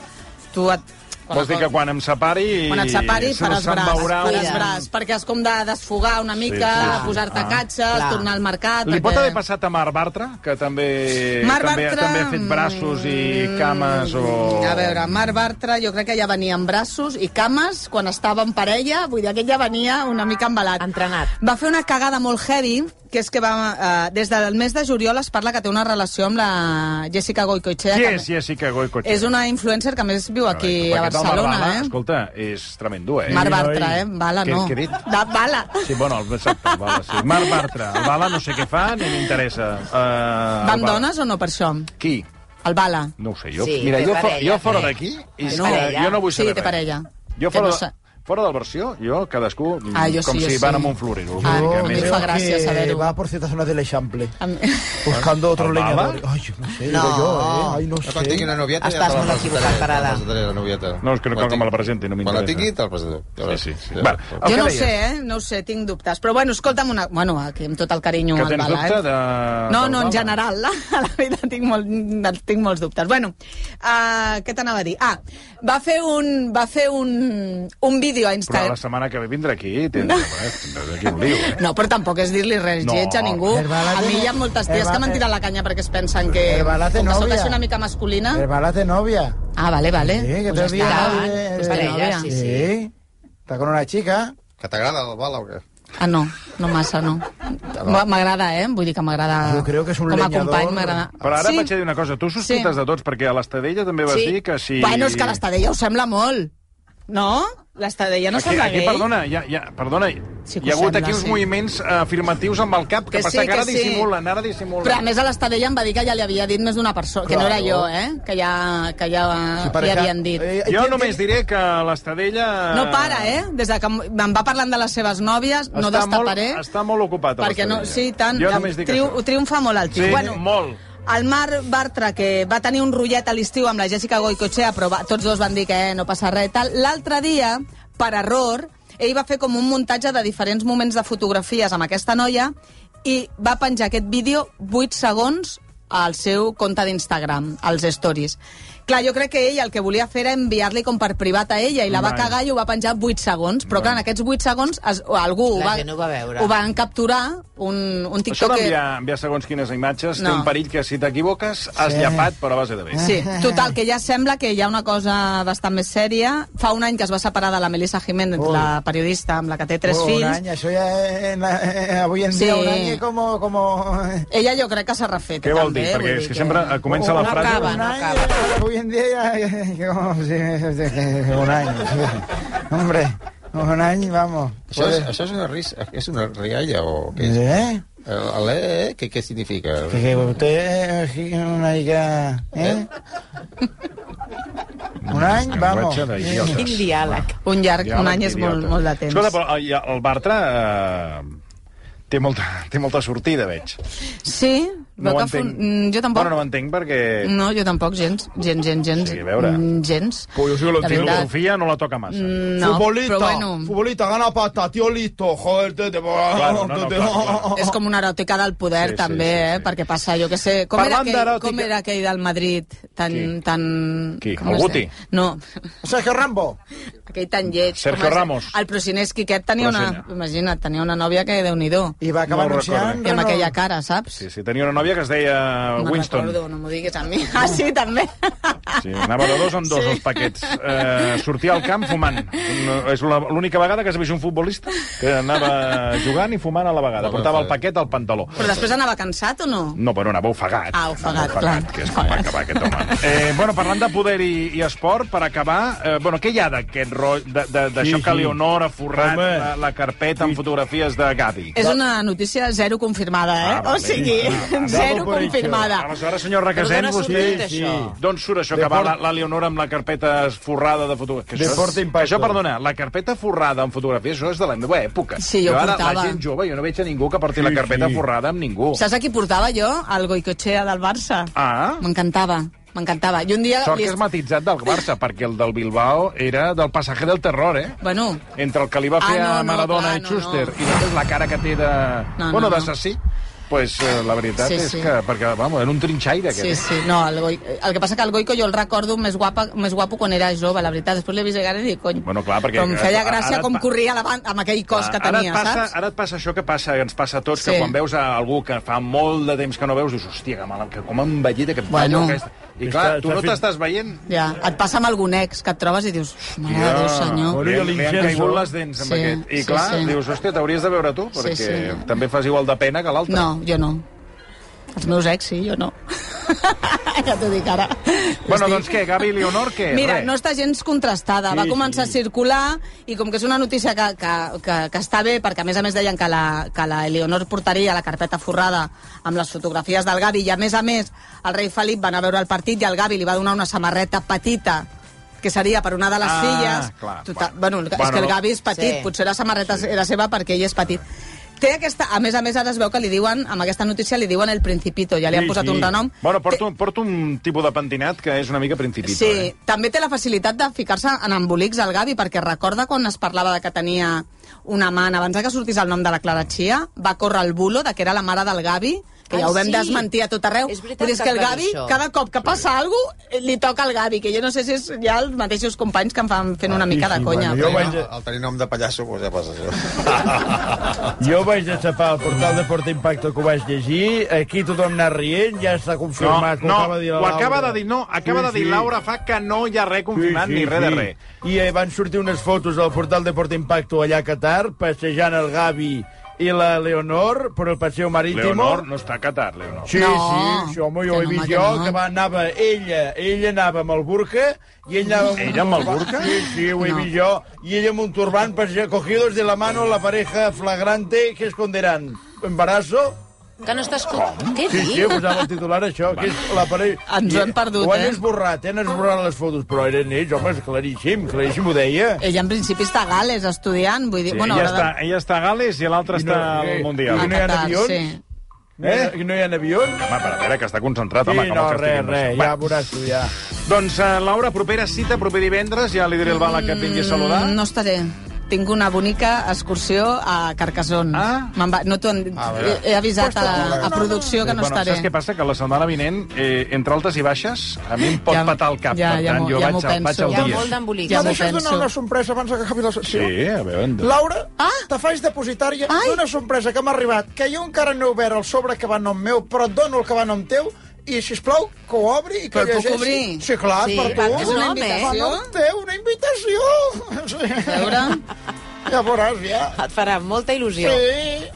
Speaker 1: Tu et...
Speaker 2: Vols dir que quan em separi...
Speaker 1: Quan et separi,
Speaker 2: se'n-
Speaker 1: faràs
Speaker 2: se'n
Speaker 1: braç,
Speaker 2: veurà
Speaker 1: faràs
Speaker 2: un-
Speaker 1: braç, perquè és com de desfogar una mica,
Speaker 2: Sí, sí,
Speaker 1: sí,
Speaker 2: sí.
Speaker 1: posar-te
Speaker 2: Ah.
Speaker 1: catxes,
Speaker 6: Clar.
Speaker 1: tornar al mercat...
Speaker 2: Li pot
Speaker 1: perquè-
Speaker 2: haver passat a Marc Bartra, que també,
Speaker 1: eh? Marc
Speaker 2: també,
Speaker 1: Bartra, mm,
Speaker 2: també ha fet braços i cames o...
Speaker 1: A veure, Marc Bartra, jo crec que ja venia amb braços i cames quan estava en parella, vull dir, aquest ja venia una mica embalat.
Speaker 6: Entrenat.
Speaker 1: Va fer una cagada molt heavy, que és que va, eh, des del mes de juliol es parla que té una relació amb la Jessica Goicoechea.
Speaker 2: Qui
Speaker 1: que-
Speaker 2: és Jessica Goicoechea?
Speaker 1: És una influencer que a més viu aquí a
Speaker 2: Aquest home,
Speaker 1: Barcelona,
Speaker 2: Bala,
Speaker 1: eh?
Speaker 2: Escolta, és tremendo, eh?
Speaker 1: Marc Bartra, eh? Bala,
Speaker 2: Què-
Speaker 1: no.
Speaker 2: què he dit?
Speaker 1: De Bala.
Speaker 2: Sí, bueno, el exacte, el Bala, sí. Marc Bartra. El Bala no sé què fa, ni m'interessa. Uh,
Speaker 1: Van dones o no per això?
Speaker 2: Qui?
Speaker 1: El Bala.
Speaker 2: No ho sé, jo...
Speaker 6: Sí,
Speaker 2: mira,
Speaker 6: té
Speaker 2: jo, fo-
Speaker 6: parella,
Speaker 2: jo fora
Speaker 6: té.
Speaker 2: d'aquí... i
Speaker 6: És
Speaker 2: no,
Speaker 6: parella.
Speaker 2: jo no vull
Speaker 1: Sí,
Speaker 2: saber
Speaker 1: té
Speaker 2: res.
Speaker 1: parella.
Speaker 2: Jo
Speaker 1: Que
Speaker 2: fora,
Speaker 1: no
Speaker 2: de-
Speaker 1: sé.
Speaker 2: fora del versió, jo cadascú mm,
Speaker 1: Ah, jo sí,
Speaker 2: com
Speaker 1: jo
Speaker 2: si
Speaker 1: sí.
Speaker 2: van amb un florero.
Speaker 1: Ah,
Speaker 4: Yo
Speaker 1: a mí me
Speaker 2: eh?
Speaker 4: creo
Speaker 1: fa gracia
Speaker 4: que
Speaker 1: saberlo.
Speaker 4: Va por ciertas zonas del Eixample,
Speaker 1: Am-
Speaker 4: buscando otro
Speaker 2: ¿Al Bala?
Speaker 4: leñador. Ay, yo no sé,
Speaker 6: No.
Speaker 4: digo yo, ¿eh? Ay, no
Speaker 5: Jo quan tingui una
Speaker 4: sé.
Speaker 5: novieta...
Speaker 6: Estàs
Speaker 5: te la
Speaker 6: molt
Speaker 5: presentaré,
Speaker 6: equivocat,
Speaker 5: te la
Speaker 6: Parada.
Speaker 5: presentaré, la novieta.
Speaker 2: No, és que no
Speaker 5: Quan
Speaker 2: cal que
Speaker 5: tingui-
Speaker 2: me la presenti, no
Speaker 5: Quan la
Speaker 2: m'interessa.
Speaker 5: tingui, te'l presentaré. Ja veuràs.
Speaker 2: Sí, sí, sí.
Speaker 5: Ja
Speaker 2: Va,
Speaker 5: veuràs.
Speaker 2: el
Speaker 1: Jo
Speaker 2: que
Speaker 1: no ho
Speaker 2: deies.
Speaker 1: sé, eh? No ho sé, tinc dubtes. Però bueno, escolta'm una... Bueno, aquí amb tot el carinyo
Speaker 2: Que
Speaker 1: al
Speaker 2: tens
Speaker 1: Bala,
Speaker 2: dubte
Speaker 1: eh?
Speaker 2: de...
Speaker 1: No,
Speaker 2: del
Speaker 1: no, en
Speaker 2: Bala?
Speaker 1: general, la, a la vida tinc, molt, en tinc molts dubtes. Bueno, uh, què t'anava a dir? Ah, va fer un, va fer un, un vídeo a
Speaker 2: Però la
Speaker 1: Instagram.
Speaker 2: setmana que ve vindrà aquí, tindrà, eh? tindràs aquí un lío, eh?
Speaker 1: No, però tampoc és dir-li res
Speaker 2: No.
Speaker 1: lleig a ningú.
Speaker 4: El Bala
Speaker 1: A mi
Speaker 4: tiene-
Speaker 1: hi ha moltes
Speaker 4: el
Speaker 1: ties que
Speaker 4: Ba-
Speaker 1: m'han tirat la canya perquè es pensen que...
Speaker 4: El Bala té
Speaker 1: Com que sóc
Speaker 4: nòvia.
Speaker 1: així una mica masculina...
Speaker 4: El Bala de novia.
Speaker 1: Ah, vale, vale.
Speaker 4: Sí, que
Speaker 1: ¿Ah? pues ja
Speaker 4: te olvides,
Speaker 1: està.
Speaker 4: eh,
Speaker 1: Pues té
Speaker 6: eh,
Speaker 1: nòvia.
Speaker 6: sí,
Speaker 4: Sí. Está con una chica.
Speaker 5: Que t'agrada el bala o què?
Speaker 1: Ah, no, no massa, no. M'a- M'agrada, eh? Vull dir que m'agrada...
Speaker 4: Jo crec que és un
Speaker 1: Com a
Speaker 4: lenyador.
Speaker 1: company m'agrada.
Speaker 2: Però ara sí. vaig a dir una cosa, tu
Speaker 1: Sí.
Speaker 2: sospites sí. de tots, perquè a l'Estadella també vas
Speaker 6: Sí.
Speaker 2: dir que si...
Speaker 1: Bueno, és que l'Estadella ho sembla molt. No? L'està deia, no
Speaker 2: aquí,
Speaker 1: sembla
Speaker 2: aquí,
Speaker 1: gay?
Speaker 2: perdona, ja, ja, perdona,
Speaker 1: Sí que
Speaker 2: hi ha
Speaker 1: ho
Speaker 2: hagut
Speaker 1: sembla,
Speaker 2: aquí uns
Speaker 1: sí.
Speaker 2: moviments eh, afirmatius amb el cap,
Speaker 1: Que
Speaker 2: que, passa
Speaker 1: sí,
Speaker 2: que ara
Speaker 1: que sí.
Speaker 2: dissimulen, ara dissimulen.
Speaker 1: Però a més a l'Estadella em va dir que ja li havia dit més d'una persona, que no era jo, eh? Que ja, que ja, que ja havien dit.
Speaker 2: Jo només diré que l'Estadella...
Speaker 1: No para, eh? Des de que em va parlant de les seves nòvies, no
Speaker 2: està
Speaker 1: destaparé.
Speaker 2: Molt, està molt ocupat,
Speaker 1: perquè no, sí, tant,
Speaker 2: Jo només dic
Speaker 1: triu,
Speaker 2: això.
Speaker 1: triomfa molt el tio.
Speaker 2: Sí,
Speaker 1: bueno,
Speaker 2: molt.
Speaker 1: El Marc Bartra, que va tenir un rotllet a l'estiu amb la Jessica Goicoechea, però va, tots dos van dir que eh, no passa res. tal. L'altre dia, per error, ell va fer com un muntatge de diferents moments de fotografies amb aquesta noia i va penjar aquest vídeo 8 segons al seu compte d'Instagram, als stories. Clar, jo crec que ell el que volia fer era enviar-li com per privat a ella i la va
Speaker 2: Vale.
Speaker 1: cagar i ho va penjar 8 segons. Però clar, en aquests 8 segons es, algú
Speaker 3: La
Speaker 1: ho va,
Speaker 3: gent ho va veure.
Speaker 1: ho van capturar, un, un
Speaker 2: Això
Speaker 1: TikToker...
Speaker 2: d'enviar enviar segons quines imatges
Speaker 1: No.
Speaker 2: té un perill que, si t'equivoques, has llapat, però a base de bé.
Speaker 1: Sí, total, que ja sembla que hi ha una cosa bastant més sèria. Fa un any que es va separar de la Melissa Jiménez,
Speaker 4: Ui.
Speaker 1: la periodista amb la que té tres
Speaker 4: Oh, Un
Speaker 1: fills.
Speaker 4: any, això ja... Eh, eh, eh, avui en
Speaker 1: Sí.
Speaker 4: dia un any és com... com
Speaker 1: Ella jo crec que s'ha refet,
Speaker 2: Què
Speaker 1: eh,
Speaker 2: vol
Speaker 1: també.
Speaker 2: dir? Perquè
Speaker 1: vull
Speaker 2: és que
Speaker 1: dir
Speaker 2: sempre eh, comença la
Speaker 4: Oh, no
Speaker 2: frase...
Speaker 3: acaba,
Speaker 4: un
Speaker 3: no
Speaker 4: any,
Speaker 3: acaba.
Speaker 4: eh, avui en dia ja... ja com, sí, sí, sí, un any. Sí. Hombre, un any, vamos.
Speaker 5: Això és, això és una risa, és una rialla o què és?
Speaker 4: Eh?
Speaker 5: El, el eh, eh, què, què significa?
Speaker 4: Pues
Speaker 2: Eh,
Speaker 4: Que, que usted es una mica... ¿Eh? Un any, vamos.
Speaker 2: Llenguatge d'idiota.
Speaker 3: Quin diàleg.
Speaker 1: Un llarg,
Speaker 2: Diàleg
Speaker 1: un any és
Speaker 2: idiota.
Speaker 1: molt, molt de temps.
Speaker 2: Escolta, però el, el Bartra eh, té, molta, té molta sortida, veig.
Speaker 1: Sí,
Speaker 2: No
Speaker 1: veu
Speaker 2: ho
Speaker 1: que
Speaker 2: entenc.
Speaker 1: fun- mm, jo tampoc. Mm.
Speaker 2: Bueno, no ho entenc perquè...
Speaker 1: No, jo tampoc, gens, gens, gens, gens.
Speaker 2: Sí, a veure.
Speaker 1: Mm, gens.
Speaker 8: Pues jo sí que lo
Speaker 1: De
Speaker 8: entiendo.
Speaker 1: veritat. Mm.
Speaker 2: Filosofia no la toca massa.
Speaker 1: No,
Speaker 8: futbolista,
Speaker 1: però bueno,
Speaker 8: futbolista, gana pata, tío listo, joder, te, te,
Speaker 2: Claro,
Speaker 4: Oh,
Speaker 2: no, no,
Speaker 8: te-
Speaker 2: claro, claro.
Speaker 1: és com una eròtica del poder,
Speaker 2: Oh, Sí, sí,
Speaker 1: també,
Speaker 2: sí,
Speaker 1: eh?
Speaker 2: sí.
Speaker 1: Perquè passa, jo que sé... Com era,
Speaker 2: Parlant
Speaker 1: aquell,
Speaker 2: d'eròtica-
Speaker 1: com era aquell del Madrid? Tan...
Speaker 2: Qui?
Speaker 1: tan...
Speaker 2: Qui?
Speaker 1: com
Speaker 2: El
Speaker 1: es
Speaker 2: Guti?
Speaker 1: deia? No,
Speaker 4: Sergio Rambo.
Speaker 1: aquell tan lleig.
Speaker 2: Sergio
Speaker 1: com es-
Speaker 2: Ramos.
Speaker 1: El Prosinés Quiquet tenia una...
Speaker 2: Procinet.
Speaker 1: Imagina't, tenia una nòvia que, déu nhi I
Speaker 4: I va acabar
Speaker 2: No
Speaker 4: no
Speaker 2: ho
Speaker 4: anunciant...
Speaker 2: recordo.
Speaker 1: amb
Speaker 4: Renault.
Speaker 1: aquella cara, saps?
Speaker 2: Sí, sí, tenia una nòvia que es deia
Speaker 1: Me'n
Speaker 2: Winston.
Speaker 1: recordo, no m'ho diguis a mi. Ah, sí, també.
Speaker 2: Sí, anava de dos en dos, sí. els paquets. Eh, sortia al camp fumant. No, és la- l'única vegada que s'ha vist un futbolista que anava jugant i fumant a la vegada. Portava el paquet al pantaló.
Speaker 1: Però després anava cansat o no?
Speaker 2: No, però anava ofegat.
Speaker 1: Ah, ofegat,
Speaker 2: Anava
Speaker 1: clar.
Speaker 2: que és com va acabar aquest home. Eh, bueno, parlant de poder i, i esport, per acabar, eh, bueno, què hi ha d'aquest ro... de- de- d'això
Speaker 8: Sí,
Speaker 2: que
Speaker 8: sí.
Speaker 2: Leonor ha forrat
Speaker 8: Home.
Speaker 2: la, la carpeta amb fotografies de Gavi?
Speaker 1: És una notícia zero confirmada, eh?
Speaker 2: Ah, va
Speaker 1: o
Speaker 2: bé.
Speaker 1: sigui,
Speaker 2: Ah,
Speaker 1: zero
Speaker 8: double breacher.
Speaker 1: confirmada.
Speaker 2: Aleshores, senyor Requesens,
Speaker 3: Perdona, surt
Speaker 2: vostè...
Speaker 3: dit, això.
Speaker 2: Ah. D'on surt això que va la, la Leonora amb la carpeta esforrada de fotografies?
Speaker 8: De Porta Impacto.
Speaker 2: Això, perdona, la carpeta forrada amb fotografies, això és de la meva època.
Speaker 1: Sí, jo
Speaker 2: jo ara,
Speaker 1: portava.
Speaker 2: la gent jove, jo no veig a ningú que porti
Speaker 8: Sí,
Speaker 2: la carpeta
Speaker 8: sí.
Speaker 2: forrada amb ningú.
Speaker 1: Saps a qui portava jo? El Goicoechea del Barça.
Speaker 2: Ah,
Speaker 1: M'encantava, m'encantava. I un dia...
Speaker 2: sort
Speaker 1: li-
Speaker 2: que és matitzat del Barça, perquè el del Bilbao era del passaje del terror, eh?
Speaker 1: Bueno,
Speaker 2: Entre el que li va
Speaker 1: Ah,
Speaker 2: fer
Speaker 1: no,
Speaker 2: a
Speaker 1: no,
Speaker 2: Maradona
Speaker 1: clar,
Speaker 2: i
Speaker 1: no,
Speaker 2: Schuster
Speaker 1: no.
Speaker 2: i després la cara que té de...
Speaker 1: No, no,
Speaker 2: bueno,
Speaker 1: no.
Speaker 2: d'assassí. Pues, eh, la veritat
Speaker 1: Sí,
Speaker 2: és
Speaker 1: sí.
Speaker 2: que... Perquè, vamos, era un trinxaire, aquest. eh?
Speaker 1: sí, sí. No, el, Goi... el que passa que el Goico jo el recordo més, guapa, més guapo quan era jove, la veritat. Després l'he vist llegar i dic, cony,
Speaker 2: Bueno, clar, perquè-
Speaker 1: però em feia gràcia
Speaker 2: ara et
Speaker 1: com
Speaker 2: pa-
Speaker 1: corria davant amb aquell cos que tenia,
Speaker 2: Ah, ara et passa,
Speaker 1: saps?
Speaker 2: Ara et passa això que passa, que ens passa a tots,
Speaker 1: Sí.
Speaker 2: sí. que quan veus a algú que fa molt de temps que no veus, dius, hòstia, que mal, que com em vellita que em
Speaker 1: Bueno.
Speaker 2: aquesta. I clar,
Speaker 8: Està-
Speaker 2: tu no
Speaker 8: està fent-
Speaker 2: t'estàs veient...
Speaker 1: Ja, et passa amb algun ex que et trobes i dius, mare de Ah, Déu, senyor.
Speaker 2: li,
Speaker 8: Bueno, i
Speaker 2: li han
Speaker 8: l'ingenso.
Speaker 2: caigut les dents amb
Speaker 1: Sí,
Speaker 2: aquest. I
Speaker 1: sí,
Speaker 2: clar,
Speaker 1: sí.
Speaker 2: dius, hòstia, t'hauries de veure tu,
Speaker 1: Sí,
Speaker 2: perquè
Speaker 1: sí.
Speaker 2: també fas igual de pena que l'altre.
Speaker 1: No, jo no. Els meus ex, sí, jo no. ja t'ho dic ara.
Speaker 2: Bueno, doncs què, Gavi Leonor, què?
Speaker 1: Mira,
Speaker 2: Res.
Speaker 1: no està gens contrastada. Va començar a circular i com que és una notícia que, que, que, que està bé, perquè a més a més deien que la, que la Eleonor portaria la carpeta forrada amb les fotografies del Gavi i a més a més el rei Felip va anar a veure el partit i el Gavi li va donar una samarreta petita que seria per una de les
Speaker 2: Ah,
Speaker 1: filles.
Speaker 2: clar,
Speaker 1: Total,
Speaker 2: bueno.
Speaker 1: bueno, bueno, és
Speaker 2: Bueno,
Speaker 1: que el
Speaker 2: no-
Speaker 1: Gavi és petit,
Speaker 3: Sí.
Speaker 1: potser la samarreta era seva perquè ell és petit. Té aquesta, a més a més, ara es veu que li diuen, amb aquesta notícia li diuen el Principito, ja li han
Speaker 8: Sí,
Speaker 1: posat
Speaker 8: sí.
Speaker 1: un renom.
Speaker 2: Bueno, porto, porto un tipus de pentinat que és una mica principito,
Speaker 1: Sí,
Speaker 2: eh?
Speaker 1: també té la facilitat de ficar-se en embolics al Gavi, perquè recorda quan es parlava de que tenia una amant, abans de que sortís el nom de la Clara Chia, va córrer el bulo de que era la mare del Gavi, que ja
Speaker 3: Ah,
Speaker 1: ho vam
Speaker 3: sí.
Speaker 1: desmentir a tot arreu.
Speaker 3: És veritat
Speaker 1: Vull dir,
Speaker 3: que
Speaker 1: que el
Speaker 3: es va
Speaker 1: Gavi,
Speaker 3: dir això.
Speaker 1: cada cop que passa sí. alguna cosa, li toca al Gavi, que jo no sé si és ja els mateixos companys que em fan fent una mica de
Speaker 8: sí,
Speaker 1: conya.
Speaker 8: bueno, jo
Speaker 1: però-
Speaker 8: vaig-
Speaker 5: El, el tenir nom de pallasso, doncs ja passa això.
Speaker 8: Jo vaig aixafar el portal de Porta Impacto que ho vaig llegir, aquí tothom anà rient, ja està confirmat.
Speaker 2: no,
Speaker 8: ho acaba de dir la
Speaker 2: ho acaba
Speaker 8: Laura.
Speaker 2: de dir, no, acaba
Speaker 8: Sí,
Speaker 2: de dir
Speaker 8: sí.
Speaker 2: Laura fa que no hi ha res confirmat ni res de res.
Speaker 8: I eh, van sortir unes fotos al portal de Porta Impacto allà a Qatar, passejant el Gavi i la Leonor per el Paseo Marítimo.
Speaker 2: Leonor no està a Qatar, Leonor.
Speaker 8: Sí,
Speaker 1: No,
Speaker 8: sí, això home, jo ho
Speaker 1: que
Speaker 8: he
Speaker 1: no,
Speaker 8: vist
Speaker 1: que
Speaker 8: jo,
Speaker 1: no.
Speaker 8: que va, anava ella, ella anava amb el burca i ell anava...
Speaker 2: Ella amb el burca?
Speaker 8: Sí, sí, ho he
Speaker 1: No.
Speaker 8: vist jo. I ella amb un turbant, per ser cogidos de la mano la pareja flagrante que esconderan. Embarazo?
Speaker 3: Que no estàs... Com? Què
Speaker 8: Sí, sí,
Speaker 3: dius?
Speaker 8: posava el titular això, que és la parella...
Speaker 1: Ens ho hem perdut,
Speaker 8: Ho han
Speaker 1: eh?
Speaker 8: esborrat, eh? han esborrat les fotos, però eren ells, home, és claríssim, claríssim ho deia.
Speaker 1: Ella en principi està a Gales estudiant, vull dir...
Speaker 2: Sí,
Speaker 1: bueno,
Speaker 2: ella,
Speaker 1: haurà
Speaker 2: està,
Speaker 1: de-
Speaker 2: ella està a Gales i l'altra
Speaker 8: I no-
Speaker 2: està al
Speaker 8: eh, i
Speaker 2: Mundial.
Speaker 8: no hi ha
Speaker 1: a Qatar,
Speaker 8: avions?
Speaker 1: Sí.
Speaker 8: Eh? I no hi ha avions?
Speaker 2: Home, per a veure, que està concentrat,
Speaker 8: Sí,
Speaker 2: home, com
Speaker 8: no,
Speaker 2: el que
Speaker 8: res,
Speaker 2: estiguin
Speaker 8: res,
Speaker 2: baixant.
Speaker 8: ja
Speaker 2: Va,
Speaker 8: veuràs tu, ja.
Speaker 2: Doncs, uh, Laura, propera cita, proper divendres, ja li diré al Bala que et vingui a saludar.
Speaker 1: Mm, No estaré. Tinc una bonica excursió a Carcassonne.
Speaker 2: Ah.
Speaker 1: Me'n Va... No t'ho han... he, he avisat a, a producció que no
Speaker 2: Doncs, bueno,
Speaker 1: estaré.
Speaker 2: Saps què passa? Que la setmana vinent, eh, entre altes i baixes, a mi em pot
Speaker 1: Ja-
Speaker 2: patar el cap.
Speaker 1: ja-
Speaker 2: per
Speaker 1: ja
Speaker 2: tant,
Speaker 1: m'ho-
Speaker 2: jo
Speaker 1: ja m'ho
Speaker 2: vaig, al- vaig
Speaker 1: penso.
Speaker 2: al
Speaker 3: Hi ha
Speaker 2: dia.
Speaker 3: molt d'embolic.
Speaker 1: Ja
Speaker 7: Ja
Speaker 1: m'ho
Speaker 7: no deixes donar
Speaker 1: penso. doncs.
Speaker 7: una sorpresa abans que acabi la
Speaker 2: Sí,
Speaker 7: sessió?
Speaker 2: a veure... endavant.
Speaker 7: Laura,
Speaker 1: Ah!
Speaker 7: te faig depositària
Speaker 1: Ai!
Speaker 7: d'una sorpresa que m'ha arribat, que jo encara no he obert el sobre que va en nom meu, però et dono el que va en nom teu, i, si plau que ho obri i que
Speaker 1: Però el puc
Speaker 7: llegeixi.
Speaker 1: obrir?
Speaker 7: Sí, clar,
Speaker 3: Sí,
Speaker 7: per
Speaker 3: va,
Speaker 7: tu.
Speaker 1: És una
Speaker 3: Nom, eh?
Speaker 7: Va en
Speaker 1: invitació?
Speaker 7: nom teu, una invitació! Sí.
Speaker 1: A veure...
Speaker 7: Ja veuràs, ja.
Speaker 3: Et farà molta il·lusió.
Speaker 7: Sí.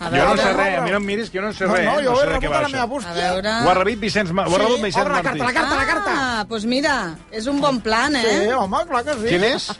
Speaker 1: A
Speaker 2: Jo no
Speaker 1: veure...
Speaker 2: sé res, a mi no em miris, que jo no sé
Speaker 7: No,
Speaker 2: res.
Speaker 7: no, jo
Speaker 2: sé
Speaker 7: he
Speaker 2: de què
Speaker 7: rebut
Speaker 2: va
Speaker 7: a la meva
Speaker 2: això.
Speaker 1: A
Speaker 7: bústia.
Speaker 1: veure...
Speaker 2: Ho ha rebut Vicenç, Ma... ho ha
Speaker 7: Sí,
Speaker 2: rebut Vicenç
Speaker 7: obre la
Speaker 2: Martí.
Speaker 7: carta, la carta.
Speaker 1: Ah, doncs mira, és un bon plan, eh?
Speaker 7: Sí, home, clar que sí.
Speaker 2: Quin és?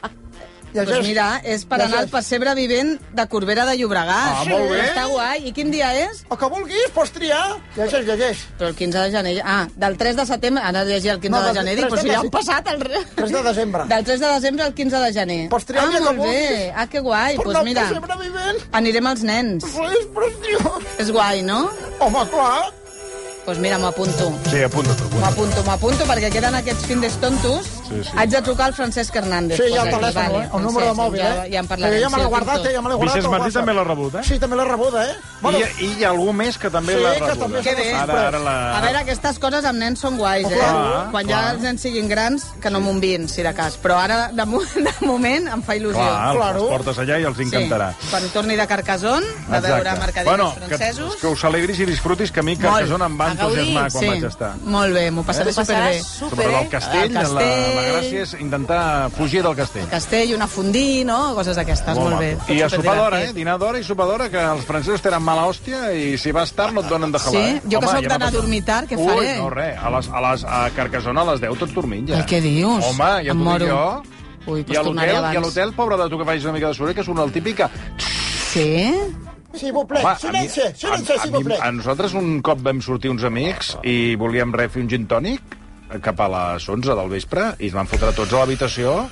Speaker 1: Doncs
Speaker 7: Llegeix.
Speaker 1: mira, és per anar al Passebre Vivent de Corbera de Llobregat.
Speaker 7: Ah, molt bé.
Speaker 1: Està guai. I quin dia és?
Speaker 7: El que vulguis, pots triar. Llegeix, llegeix.
Speaker 1: Però el 15 de gener... Ah, del 3 de setembre... Ara llegia el 15
Speaker 7: No,
Speaker 1: de
Speaker 7: del
Speaker 1: gener. Dic,
Speaker 7: 3
Speaker 1: però
Speaker 7: de
Speaker 1: si ja han
Speaker 7: dece-
Speaker 1: passat el... re-
Speaker 7: 3 de desembre.
Speaker 1: Del 3 de desembre al 15 de gener.
Speaker 7: Pots triar el
Speaker 1: ah,
Speaker 7: dia que
Speaker 1: molt bé.
Speaker 7: vulguis.
Speaker 1: Ah, que guai. Doncs
Speaker 7: Però
Speaker 1: pues mira,
Speaker 7: sempre vivent.
Speaker 1: anirem als nens.
Speaker 7: Però és preciós.
Speaker 1: És guai, no?
Speaker 7: Home, clar.
Speaker 1: Doncs pues mira, m'ho apunto.
Speaker 2: Sí, apunta, tu.
Speaker 1: M'apunto, m'apunto, perquè queden aquests fins tontos.
Speaker 2: Sí, sí.
Speaker 1: Haig de trucar al Francesc Hernández.
Speaker 7: Sí, hi ha el
Speaker 1: Doncs,
Speaker 7: telèfon,
Speaker 1: vale,
Speaker 7: eh? el número de
Speaker 1: Francesc,
Speaker 7: mòbil,
Speaker 1: ja,
Speaker 7: eh?
Speaker 1: Ja en parlarem.
Speaker 7: Sí, ja
Speaker 1: sí, el
Speaker 7: me l'he
Speaker 1: tinc
Speaker 7: guardat,
Speaker 1: tot.
Speaker 7: eh? Ja me l'he guardat.
Speaker 2: Vicenç
Speaker 7: al
Speaker 2: Martí
Speaker 7: WhatsApp.
Speaker 2: també l'ha rebuda, eh?
Speaker 7: Sí, també l'he rebuda, eh?
Speaker 2: I,
Speaker 7: Bueno,
Speaker 2: I hi ha algú més que també
Speaker 7: Sí,
Speaker 2: l'ha
Speaker 7: que
Speaker 2: rebuda.
Speaker 7: també
Speaker 1: Que bé.
Speaker 2: Ara, ara la...
Speaker 1: A veure, aquestes coses amb nens són guais, eh?
Speaker 2: Clar,
Speaker 1: Quan
Speaker 2: clar.
Speaker 1: ja els nens siguin grans, que no m'envien, si de cas. Però ara, de, mo de moment, em fa il·lusió.
Speaker 2: Clar,
Speaker 7: Claro.
Speaker 2: els portes allà i els encantarà.
Speaker 1: Sí, quan torni de Carcassonne, de
Speaker 2: Exacte.
Speaker 1: veure mercadillos
Speaker 2: bueno,
Speaker 1: francesos...
Speaker 2: Que, que us alegris i disfrutis, que a mi Carcassonne em va
Speaker 3: A gaudir,
Speaker 2: entusiasmar quan
Speaker 1: sí,
Speaker 2: vaig estar.
Speaker 1: molt bé, m'ho passaré
Speaker 3: T'ho
Speaker 1: superbé.
Speaker 3: passaràs super,
Speaker 2: Sobretot
Speaker 3: eh?
Speaker 2: el castell,
Speaker 1: El
Speaker 2: la, la
Speaker 1: castell.
Speaker 2: gràcia és intentar fugir del castell.
Speaker 1: Castell, una fondí, no? Coses d'aquestes, molt, bé.
Speaker 2: maco. I a sopar d'hora, eh? Dinar d'hora i sopar d'hora, que els francesos tenen mala hòstia i si vas tard no et donen de
Speaker 1: Sí?
Speaker 2: jalar. eh?
Speaker 1: Jo que
Speaker 2: Home,
Speaker 1: sóc
Speaker 2: ja
Speaker 1: d'anar
Speaker 2: m'ha
Speaker 1: a dormir tard,
Speaker 2: passat.
Speaker 1: què faré?
Speaker 2: Ui, no, res. A, les, a, les, a Carcassona a les 10 tots dormint, ja.
Speaker 1: Ai, què dius?
Speaker 2: Home, ja
Speaker 1: Em
Speaker 2: t'ho
Speaker 1: moro.
Speaker 2: dic jo.
Speaker 1: Ui, doncs
Speaker 2: I a
Speaker 1: tornaré
Speaker 2: l'hotel,
Speaker 1: abans.
Speaker 2: i a l'hotel, pobre de tu que facis una mica de soroll, que surt el típic que...
Speaker 1: Sí?
Speaker 7: Sí, vos plaît, silenci, silenci,
Speaker 2: a,
Speaker 7: si
Speaker 2: mi,
Speaker 7: vos plaît.
Speaker 2: a nosaltres un cop vam sortir uns amics i volíem res fer un gin tònic eh, cap a les 11 del vespre i ens van fotre tots a l'habitació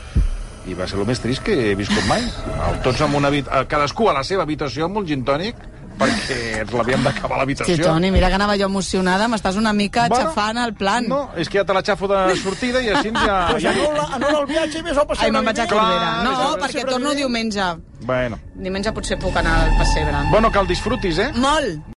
Speaker 2: i va ser el més trist que he viscut mai. El- Tots amb una habit... eh, cadascú a la seva habitació amb un gin tònic perquè ens l'havíem d'acabar a
Speaker 1: Sí,
Speaker 2: l'habitació.
Speaker 1: Toni, mira que anava jo emocionada, m'estàs una mica
Speaker 2: Bueno,
Speaker 1: aixafant el plan.
Speaker 2: No, és que ja te la xafo de sortida i així ja...
Speaker 7: Pues
Speaker 2: Ah, ja...
Speaker 7: anul·la, anul·la el viatge i vés al passeig.
Speaker 1: Ai, me'n vaig a
Speaker 7: de Viver.
Speaker 1: Corbera.
Speaker 2: Clar,
Speaker 1: No,
Speaker 2: sí,
Speaker 1: perquè
Speaker 7: sí,
Speaker 1: torno
Speaker 7: sí.
Speaker 1: diumenge.
Speaker 2: Bueno.
Speaker 1: Diumenge potser puc anar al Passebre.
Speaker 2: bueno, que el disfrutis, eh?
Speaker 1: Molt!